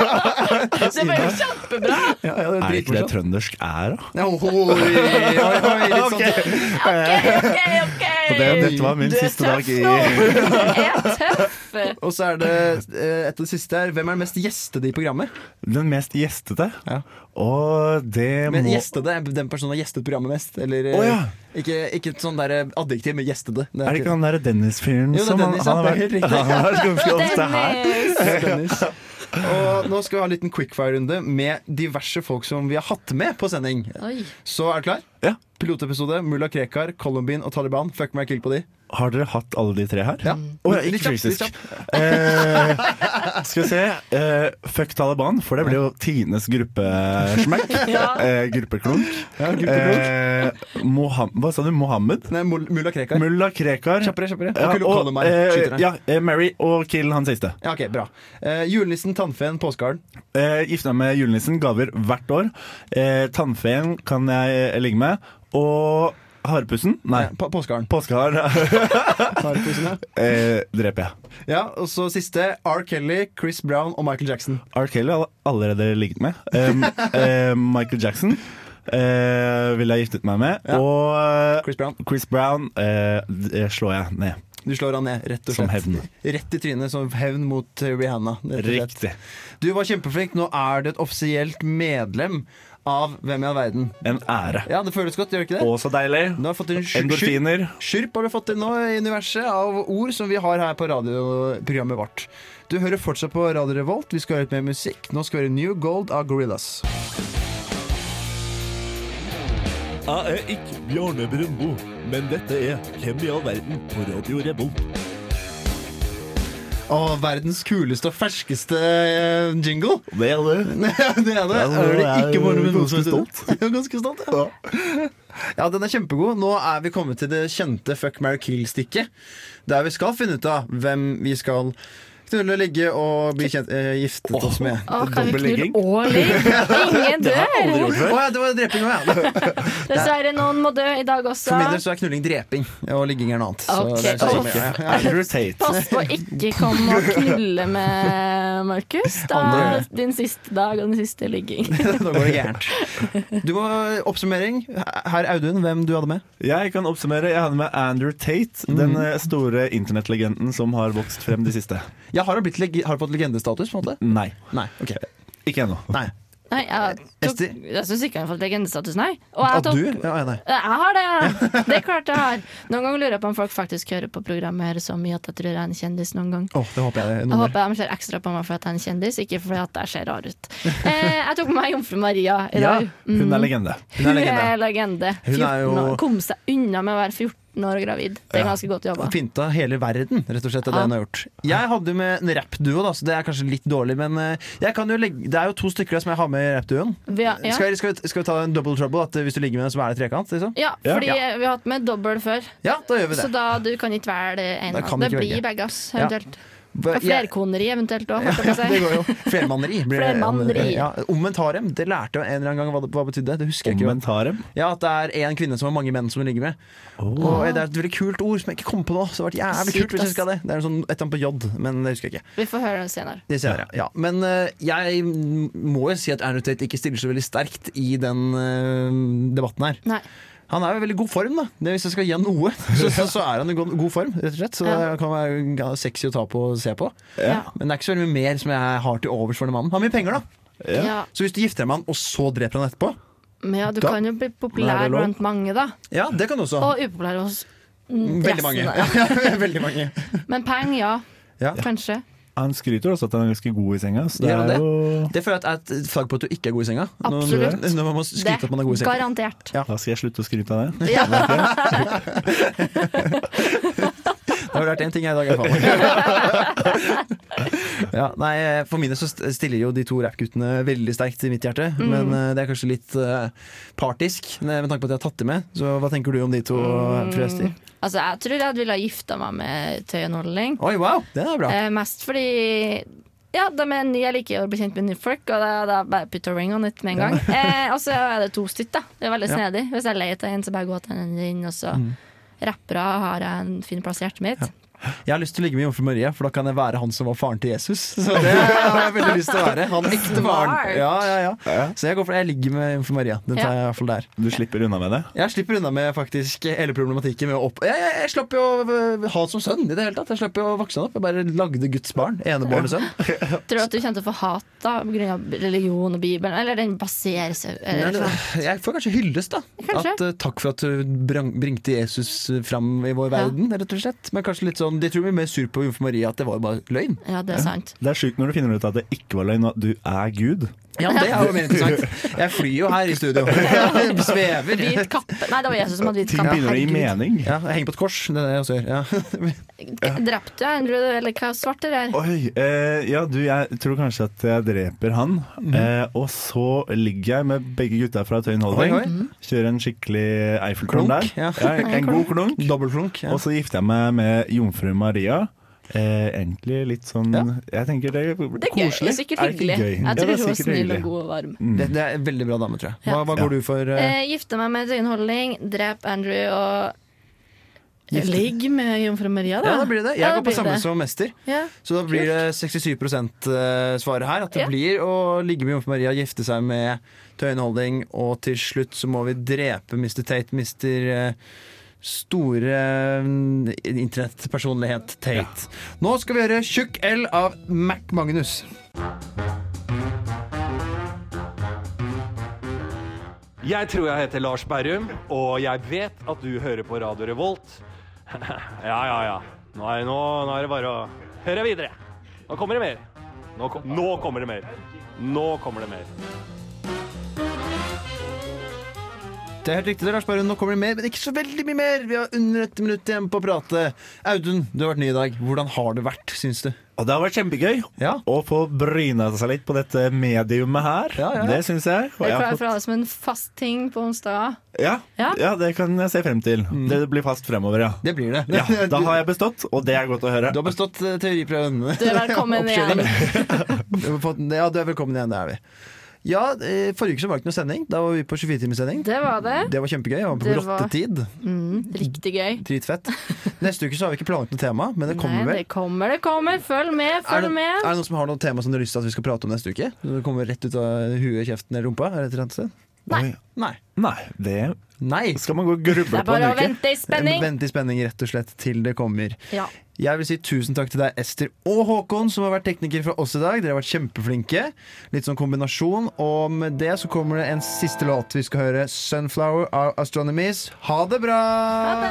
Speaker 6: Det var jo kjempebra!
Speaker 5: Ja, ja, det
Speaker 3: Er det ikke det
Speaker 5: dritmorsomt.
Speaker 3: trøndersk er, da?
Speaker 5: Ja, oi, oi, oi, litt sånn.
Speaker 6: OK, OK, OK!
Speaker 3: Det, dette var min
Speaker 6: Du er
Speaker 3: siste dag
Speaker 6: tøff
Speaker 3: i
Speaker 6: nå! Du er tøff!
Speaker 5: Og så er det eh, et av det siste her. Hvem er den mest gjestede i programmet?
Speaker 3: den mest gjestete.
Speaker 5: Ja.
Speaker 3: Og det
Speaker 5: Men
Speaker 3: må
Speaker 5: gjestede er den personen som har gjestet programmet mest. Eller, eh,
Speaker 3: Å, ja.
Speaker 5: ikke, ikke et sånn der eh, adjektiv, men gjestede. Det
Speaker 3: Er det ikke han derre Dennis-fyren
Speaker 5: Jo, det er
Speaker 3: som han,
Speaker 5: Dennis, ja.
Speaker 3: han,
Speaker 5: Det er
Speaker 3: har vært,
Speaker 5: helt riktig.
Speaker 3: han har vært ganske ofte her?
Speaker 6: Dennis!
Speaker 5: Ja, Dennis. Og nå skal vi ha en liten quickfire-runde med diverse folk som vi har hatt med på sending.
Speaker 6: Oi.
Speaker 5: Så er du klar?
Speaker 3: Ja.
Speaker 5: Pilotepisode, Mulla Krekar, Columbine og Taliban. Fuck meg, kill på de.
Speaker 3: Har dere hatt alle de tre her?
Speaker 5: Ja.
Speaker 3: Å, ja,
Speaker 5: Litt
Speaker 3: ikke
Speaker 5: kjapt, litt
Speaker 3: fysisk. Eh, skal vi se. eh, fuck Taliban, for det blir jo Tines gruppesmekk.
Speaker 6: Ja.
Speaker 3: Eh, gruppeklunk.
Speaker 5: Ja, eh.
Speaker 3: Eh, Moham hva sa du? Mohammed?
Speaker 5: Nei, Mul- Mulla Krekar.
Speaker 3: Mulla Krekar.
Speaker 5: Kjappere, kjappere.
Speaker 3: Ja,
Speaker 5: Og Kul-
Speaker 3: og,
Speaker 5: Columbine,
Speaker 3: eh,
Speaker 5: skyter deg.
Speaker 3: ja, eh, Mary og kill han siste.
Speaker 5: Ja, ok, bra. Eh, julenissen, tannfeen, påskeharen.
Speaker 3: Eh, Gifta meg med julenissen, gaver hvert år. Eh, Tannfeen kan jeg eh, ligge med. Og harepussen? Nei.
Speaker 5: Eh, på- Påskeharen.
Speaker 3: Påskeharen
Speaker 5: Harepusen, ja.
Speaker 3: eh, dreper jeg.
Speaker 5: Ja, og så siste. R. Kelly, Chris Brown og Michael Jackson.
Speaker 3: R. Kelly har allerede ligget med. Um, eh, Michael Jackson eh, ville jeg giftet meg med.
Speaker 5: Ja.
Speaker 3: Og eh,
Speaker 5: Chris Brown.
Speaker 3: Chris Brown eh, det slår jeg ned
Speaker 5: Du slår han ned, rett og
Speaker 3: som
Speaker 5: slett.
Speaker 3: hevn.
Speaker 5: Rett i trynet som hevn mot eh, Rihanna. rett og slett.
Speaker 3: Riktig.
Speaker 5: Du var kjempeflink. Nå er du et offisielt medlem av Hvem i all verden.
Speaker 3: En ære.
Speaker 5: Ja, det føles godt, gjør det ikke det?
Speaker 3: Å, så deilig.
Speaker 5: Du har fått en skjur-
Speaker 3: Endorfiner.
Speaker 5: skjur- Skjurp har du fått inn nå i universet av ord som vi har her på radioprogrammet vårt. Du hører fortsatt på Radio Revolt. Vi skal høre litt mer musikk. Nå skal vi høre New Gold av Gorillas.
Speaker 11: Jeg er ikke Bjarne Brøndbo, men dette er Hvem i all verden på Radio Revolt.
Speaker 5: Å, verdens kuleste og ferskeste eh, jingle.
Speaker 3: Det er
Speaker 5: det
Speaker 3: du.
Speaker 5: er det. Er det
Speaker 3: jeg er
Speaker 5: ikke bare med noen
Speaker 3: ganske
Speaker 5: som heter det?
Speaker 3: stolt.
Speaker 5: Jeg er Ganske stolt, ja. Ja, den er kjempegod. Nå er vi kommet til det kjente fuck, marry, kill-stikket. Der vi skal finne ut av hvem vi skal Knulle, ligge og bli kjent, eh, giftet oss med.
Speaker 6: Å, kan vi knulle og ligge? Ingen
Speaker 5: Det har jeg aldri
Speaker 6: dør!
Speaker 5: gjort før. Å ja, det var dreping òg, ja.
Speaker 6: Dessverre, noen må dø i dag
Speaker 5: For
Speaker 6: også.
Speaker 5: min del så er knulling dreping, og ligging er noe annet.
Speaker 6: Ok.
Speaker 5: sånn, ja, ja.
Speaker 6: Pass på å ikke komme og knulle med Markus. Da
Speaker 5: Andre.
Speaker 6: din siste dag og din siste ligging.
Speaker 5: Nå går det gærent. Du må Oppsummering. Herr Audun, hvem du hadde med?
Speaker 3: Jeg kan oppsummere. Jeg hadde med Andrew Tate,
Speaker 5: Mm.
Speaker 3: den eh, store internettlegenden som har vokst frem de siste.
Speaker 5: Ja, har, han blitt, leg- har han fått legendestatus? på en måte?
Speaker 3: Nei.
Speaker 5: ok.
Speaker 3: Ikke ennå.
Speaker 5: Nei.
Speaker 6: Nei, jeg, tok,
Speaker 5: Ester?
Speaker 6: jeg syns ikke han har fått legendestatus, nei. Og
Speaker 5: Ah,
Speaker 6: jeg, tok,
Speaker 5: du? Ja, ja, nei.
Speaker 6: jeg har det, ja. Det er klart jeg har. Noen ganger lurer jeg på om folk faktisk hører på programmet her så mye at jeg tror jeg er en kjendis noen gang.
Speaker 5: Åh, det håper jeg.
Speaker 6: Jeg
Speaker 5: Noen
Speaker 6: håper de ser ekstra på meg for at jeg er en kjendis, ikke fordi at jeg ser rar ut. Eh, jeg tok med meg jomfru Maria i dag.
Speaker 3: Hun
Speaker 6: Mm.
Speaker 3: er legende.
Speaker 6: Hun er legende.
Speaker 5: Hun er jo-
Speaker 6: 14 år. Kom seg unna med å være 14 år og gravid. Det er
Speaker 5: Ja.
Speaker 6: ganske godt jobba.
Speaker 5: Pynta hele verden, rett og slett. er Det
Speaker 6: Ja.
Speaker 5: hun har gjort. Jeg hadde jo med en rappduo, da, så det er kanskje litt dårlig. Men eh, jeg kan jo legge, det er jo to stykker der som jeg har med i rappduoen.
Speaker 6: Vi har, ja.
Speaker 5: Skal, vi- skal, vi- skal vi ta en double trouble? At eh, hvis du ligger med en, så er det trekant? Liksom?
Speaker 6: ja, fordi
Speaker 5: ja.
Speaker 6: vi har hatt med dobbel før.
Speaker 5: Ja, da gjør vi det.
Speaker 6: Så da du kan ikke velge en.
Speaker 5: Da
Speaker 6: av
Speaker 5: kan
Speaker 6: Det
Speaker 5: vi ikke
Speaker 6: blir
Speaker 5: velge.
Speaker 6: begge, ass,
Speaker 5: Ja.
Speaker 6: eventuelt.
Speaker 5: Ba-
Speaker 6: Og flerkoneri eventuelt òg, holdt jeg
Speaker 5: Ja,
Speaker 6: på å
Speaker 5: det
Speaker 6: si.
Speaker 5: går jo. Flermanneri. blir det.
Speaker 6: Flermanneri.
Speaker 5: Ja, omvendt harem. Det lærte jeg en eller annen gang hva det, hva det betydde. Det husker jeg ikke.
Speaker 3: Omvendt harem?
Speaker 5: Ja, At det er én kvinne som har mange menn som hun ligger med. Og Det er et veldig kult ord som jeg ikke kom på nå. Så det hadde vært jævlig
Speaker 6: Sykt,
Speaker 5: kult hvis jeg
Speaker 6: ass.
Speaker 5: huska det. Det er en sånn, et eller annet på J, men det husker jeg ikke.
Speaker 6: Vi får høre det senere.
Speaker 5: Det senere, ja. Men eh, jeg m- må jo si at Andrew Tate ikke stiller så veldig sterkt i den eh, debatten her.
Speaker 6: Nei.
Speaker 5: Han er jo i veldig god form, da. Det, hvis jeg skal gi han noe, så, så, så er han i god, god form. rett og slett Så
Speaker 6: Ja.
Speaker 5: det kan være g- sexy å ta på og se på.
Speaker 6: Ja.
Speaker 5: Men det er ikke så veldig mye mer som jeg har til overs for den mannen. Han har mye penger, da.
Speaker 6: Ja.
Speaker 5: Så hvis du gifter deg med han, og så dreper han etterpå
Speaker 6: Men ja, du
Speaker 5: Da-
Speaker 6: kan jo bli
Speaker 5: Men er
Speaker 6: populær
Speaker 5: det lov?
Speaker 6: blant mange, da.
Speaker 5: Ja, det kan du også.
Speaker 6: Og upopulær hos mm,
Speaker 5: Veldig mange.
Speaker 6: resten, da.
Speaker 5: Ja, veldig mange.
Speaker 6: Men penger, ja.
Speaker 5: Ja.
Speaker 6: Kanskje.
Speaker 3: Han skryter også at han er ganske god i senga. Så det
Speaker 5: Gjør han
Speaker 3: er
Speaker 5: det?
Speaker 3: jo
Speaker 5: Det føler jeg at er et flagg på at du ikke er god i senga. Når-
Speaker 6: Absolutt.
Speaker 5: Når man må skryte at man er god i senga.
Speaker 6: Garantert.
Speaker 3: Da skal jeg slutte å skryte av det.
Speaker 6: Ja.
Speaker 5: Det har lært én ting jeg i dag, i hvert fall. ja, nei, for mine så st- stiller jo de to rappguttene veldig sterkt i mitt hjerte.
Speaker 6: Mm.
Speaker 5: Men eh, det er kanskje litt eh, partisk med tanke på at jeg har tatt det med. Så hva tenker du om de to, eh, fru Ester?
Speaker 6: Altså, jeg tror jeg ville ha gifta meg med Tøyen Olling.
Speaker 5: Oi, wow! Det er bra.
Speaker 6: Eh, mest fordi ja, de er nye. Jeg liker å bli kjent med nye folk, og da, da bare putter jeg ring on it med en gang. Eh, og så er det to stykk, da. Det er veldig
Speaker 5: Ja.
Speaker 6: snedig. Hvis jeg er lei av en, så bare går jeg til den inn, og så
Speaker 5: Mm.
Speaker 6: rappere har jeg en fin plass i hjertet mitt.
Speaker 5: Jeg har lyst til å ligge med jomfru Maria, for da kan jeg være han som var faren til Jesus. Så det har jeg veldig lyst til å være. Han ekte faren.
Speaker 6: Smart.
Speaker 5: Ja, ja, ja. Så jeg går for Jeg ligger med jomfru Maria. Den tar jeg i hvert fall der.
Speaker 3: Du slipper unna med det.
Speaker 5: Jeg slipper unna med faktisk hele problematikken med å opp... Jeg, jeg, jeg slapp jo å øh, ha han som sønn i det hele tatt. Jeg slapp jo å vokse han opp. Jeg bare lagde Guds barn. Enebåren sønn.
Speaker 6: Tror du at du kommer til å få hat da pga. religion og Bibelen? Eller den baserer seg eh,
Speaker 5: Nei,
Speaker 6: eller,
Speaker 5: det- Jeg får kanskje hylles, da.
Speaker 6: Kanskje.
Speaker 5: At eh, Takk for at du brang- bringte Jesus eh, fram i vår verden, rett og slett. Men kanskje litt sånn De tror vi er mer sur på jomfru Maria at det var bare løgn.
Speaker 6: Ja, det er sant.
Speaker 3: Det er sjukt når du finner ut at det ikke var løgn, og at du er Gud.
Speaker 5: Ja, det er jo mer interessant. Jeg flyr jo her i studio. Jeg Svever.
Speaker 6: Hvit kappe. Nei, det var Jesus som hadde hvit
Speaker 3: Ting
Speaker 6: kappe.
Speaker 3: begynner å gi
Speaker 6: Herregud.
Speaker 3: mening.
Speaker 5: sånn, Ja, jeg henger på et kors. Det er det jeg også gjør. Ja.
Speaker 6: Drepte du Andrew, eller hva svarte det er?
Speaker 3: Oi, eh, ja du, jeg tror kanskje at jeg dreper han. Eh, og så ligger jeg med begge gutta fra Tøyen Holding.
Speaker 5: Mhm. Oi, oi.
Speaker 6: Mhm.
Speaker 3: Kjører en skikkelig Eiffeltårn der.
Speaker 5: Klunk, ja.
Speaker 3: en god klunk.
Speaker 5: Dobbeltflunk. Ja.
Speaker 3: Og så gifter jeg meg med jomfru Maria. Eh, egentlig litt sånn Jeg tenker det er koselig.
Speaker 6: Det er gøy. Det er sikkert
Speaker 3: Er det ikke
Speaker 6: hyggelig.
Speaker 3: gøy? Ja,
Speaker 6: Jeg
Speaker 3: det er
Speaker 6: tror hun var
Speaker 3: sikkert
Speaker 6: snill
Speaker 3: hyggelig.
Speaker 6: og god og varm.
Speaker 5: Det, det er en veldig bra dame, tror jeg. Hva, hva
Speaker 3: Ja.
Speaker 5: går du for? eh?
Speaker 6: Eh, gifte meg med Tøyenholding, drep Andrew og
Speaker 5: Gifte-
Speaker 6: Ligg med jomfru Maria, da.
Speaker 5: Ja, da blir det det.
Speaker 6: Ja,
Speaker 5: Jeg
Speaker 6: da
Speaker 5: går på
Speaker 6: blir
Speaker 5: samme
Speaker 6: det.
Speaker 5: som mester.
Speaker 6: Ja.
Speaker 5: Så da blir det 67 eh, svaret her. At det
Speaker 6: Ja.
Speaker 5: blir å ligge med jomfru Maria, gifte seg med Tøyen Holding, og til slutt så må vi drepe Mr. Tate, Mr. eh, Store eh, internettpersonlighet Tate. Nå skal vi gjøre Tjukk L av Mac Magnus.
Speaker 12: Jeg tror jeg heter Lars Berrum, og jeg vet at du hører på Radio Revolt. ja, ja, ja. Nå er, nå, nå er det bare å høre videre. Nå kommer det mer. Nå, kom, nå kommer det mer. Nå kommer det mer.
Speaker 5: Det er helt riktig, det, Lars Berrum. Nå kommer det mer, men ikke så veldig mye mer. Vi har under et minutt igjen på å prate. Audun, du har vært ny i dag. Hvordan har det vært, syns du?
Speaker 3: Og det har vært kjempegøy å få bryna seg litt på dette mediumet her.
Speaker 6: ja.
Speaker 3: Det syns jeg. Og
Speaker 6: Det
Speaker 3: jeg har
Speaker 6: pleier
Speaker 3: fått-
Speaker 6: for å ha det som altså en fast ting på onsdager.
Speaker 3: ja,
Speaker 6: Ja.
Speaker 3: ja, det kan jeg se frem til.
Speaker 6: Mm.
Speaker 3: Det blir fast fremover, ja.
Speaker 5: Det blir det.
Speaker 3: Ja, da har jeg bestått, og det er godt å høre.
Speaker 5: Du har bestått eh, teoriprøven.
Speaker 6: Du er velkommen igjen.
Speaker 5: Du har fått- Ja, du er velkommen igjen, det er vi. Ja, eh, Forrige uke så var det ikke noe sending. Da var vi på 24-timerssending.
Speaker 6: Det var det.
Speaker 5: Det var kjempegøy. Jeg var på
Speaker 6: Det var-
Speaker 5: rottetid.
Speaker 6: Mm, riktig gøy.
Speaker 5: Dritfett. Neste uke så har vi ikke planlagt noe tema, men det kommer
Speaker 6: Nei,
Speaker 5: vel.
Speaker 6: det kommer, det kommer. Følg med,
Speaker 5: Er
Speaker 6: følg
Speaker 5: det,
Speaker 6: med.
Speaker 5: er det noen som har noe tema som dere har lyst til at vi skal prate om neste uke? Når Det kommer rett ut av huet, kjeften eller rumpa? Eller et eller annet sted?
Speaker 6: Nei.
Speaker 5: Nei.
Speaker 3: det
Speaker 5: Skal
Speaker 3: man gå og gruble
Speaker 6: Det er på en bare å uke? vente i spenning.
Speaker 5: Vente i spenning, rett og slett, til det kommer.
Speaker 6: Ja.
Speaker 5: Jeg vil si tusen takk til deg, Ester og Håkon, som har vært teknikere fra oss i dag. Dere har vært kjempeflinke. Litt sånn kombinasjon. Og med det så kommer det en siste låt. Vi skal høre 'Sunflower av Astronomies'. Ha det bra!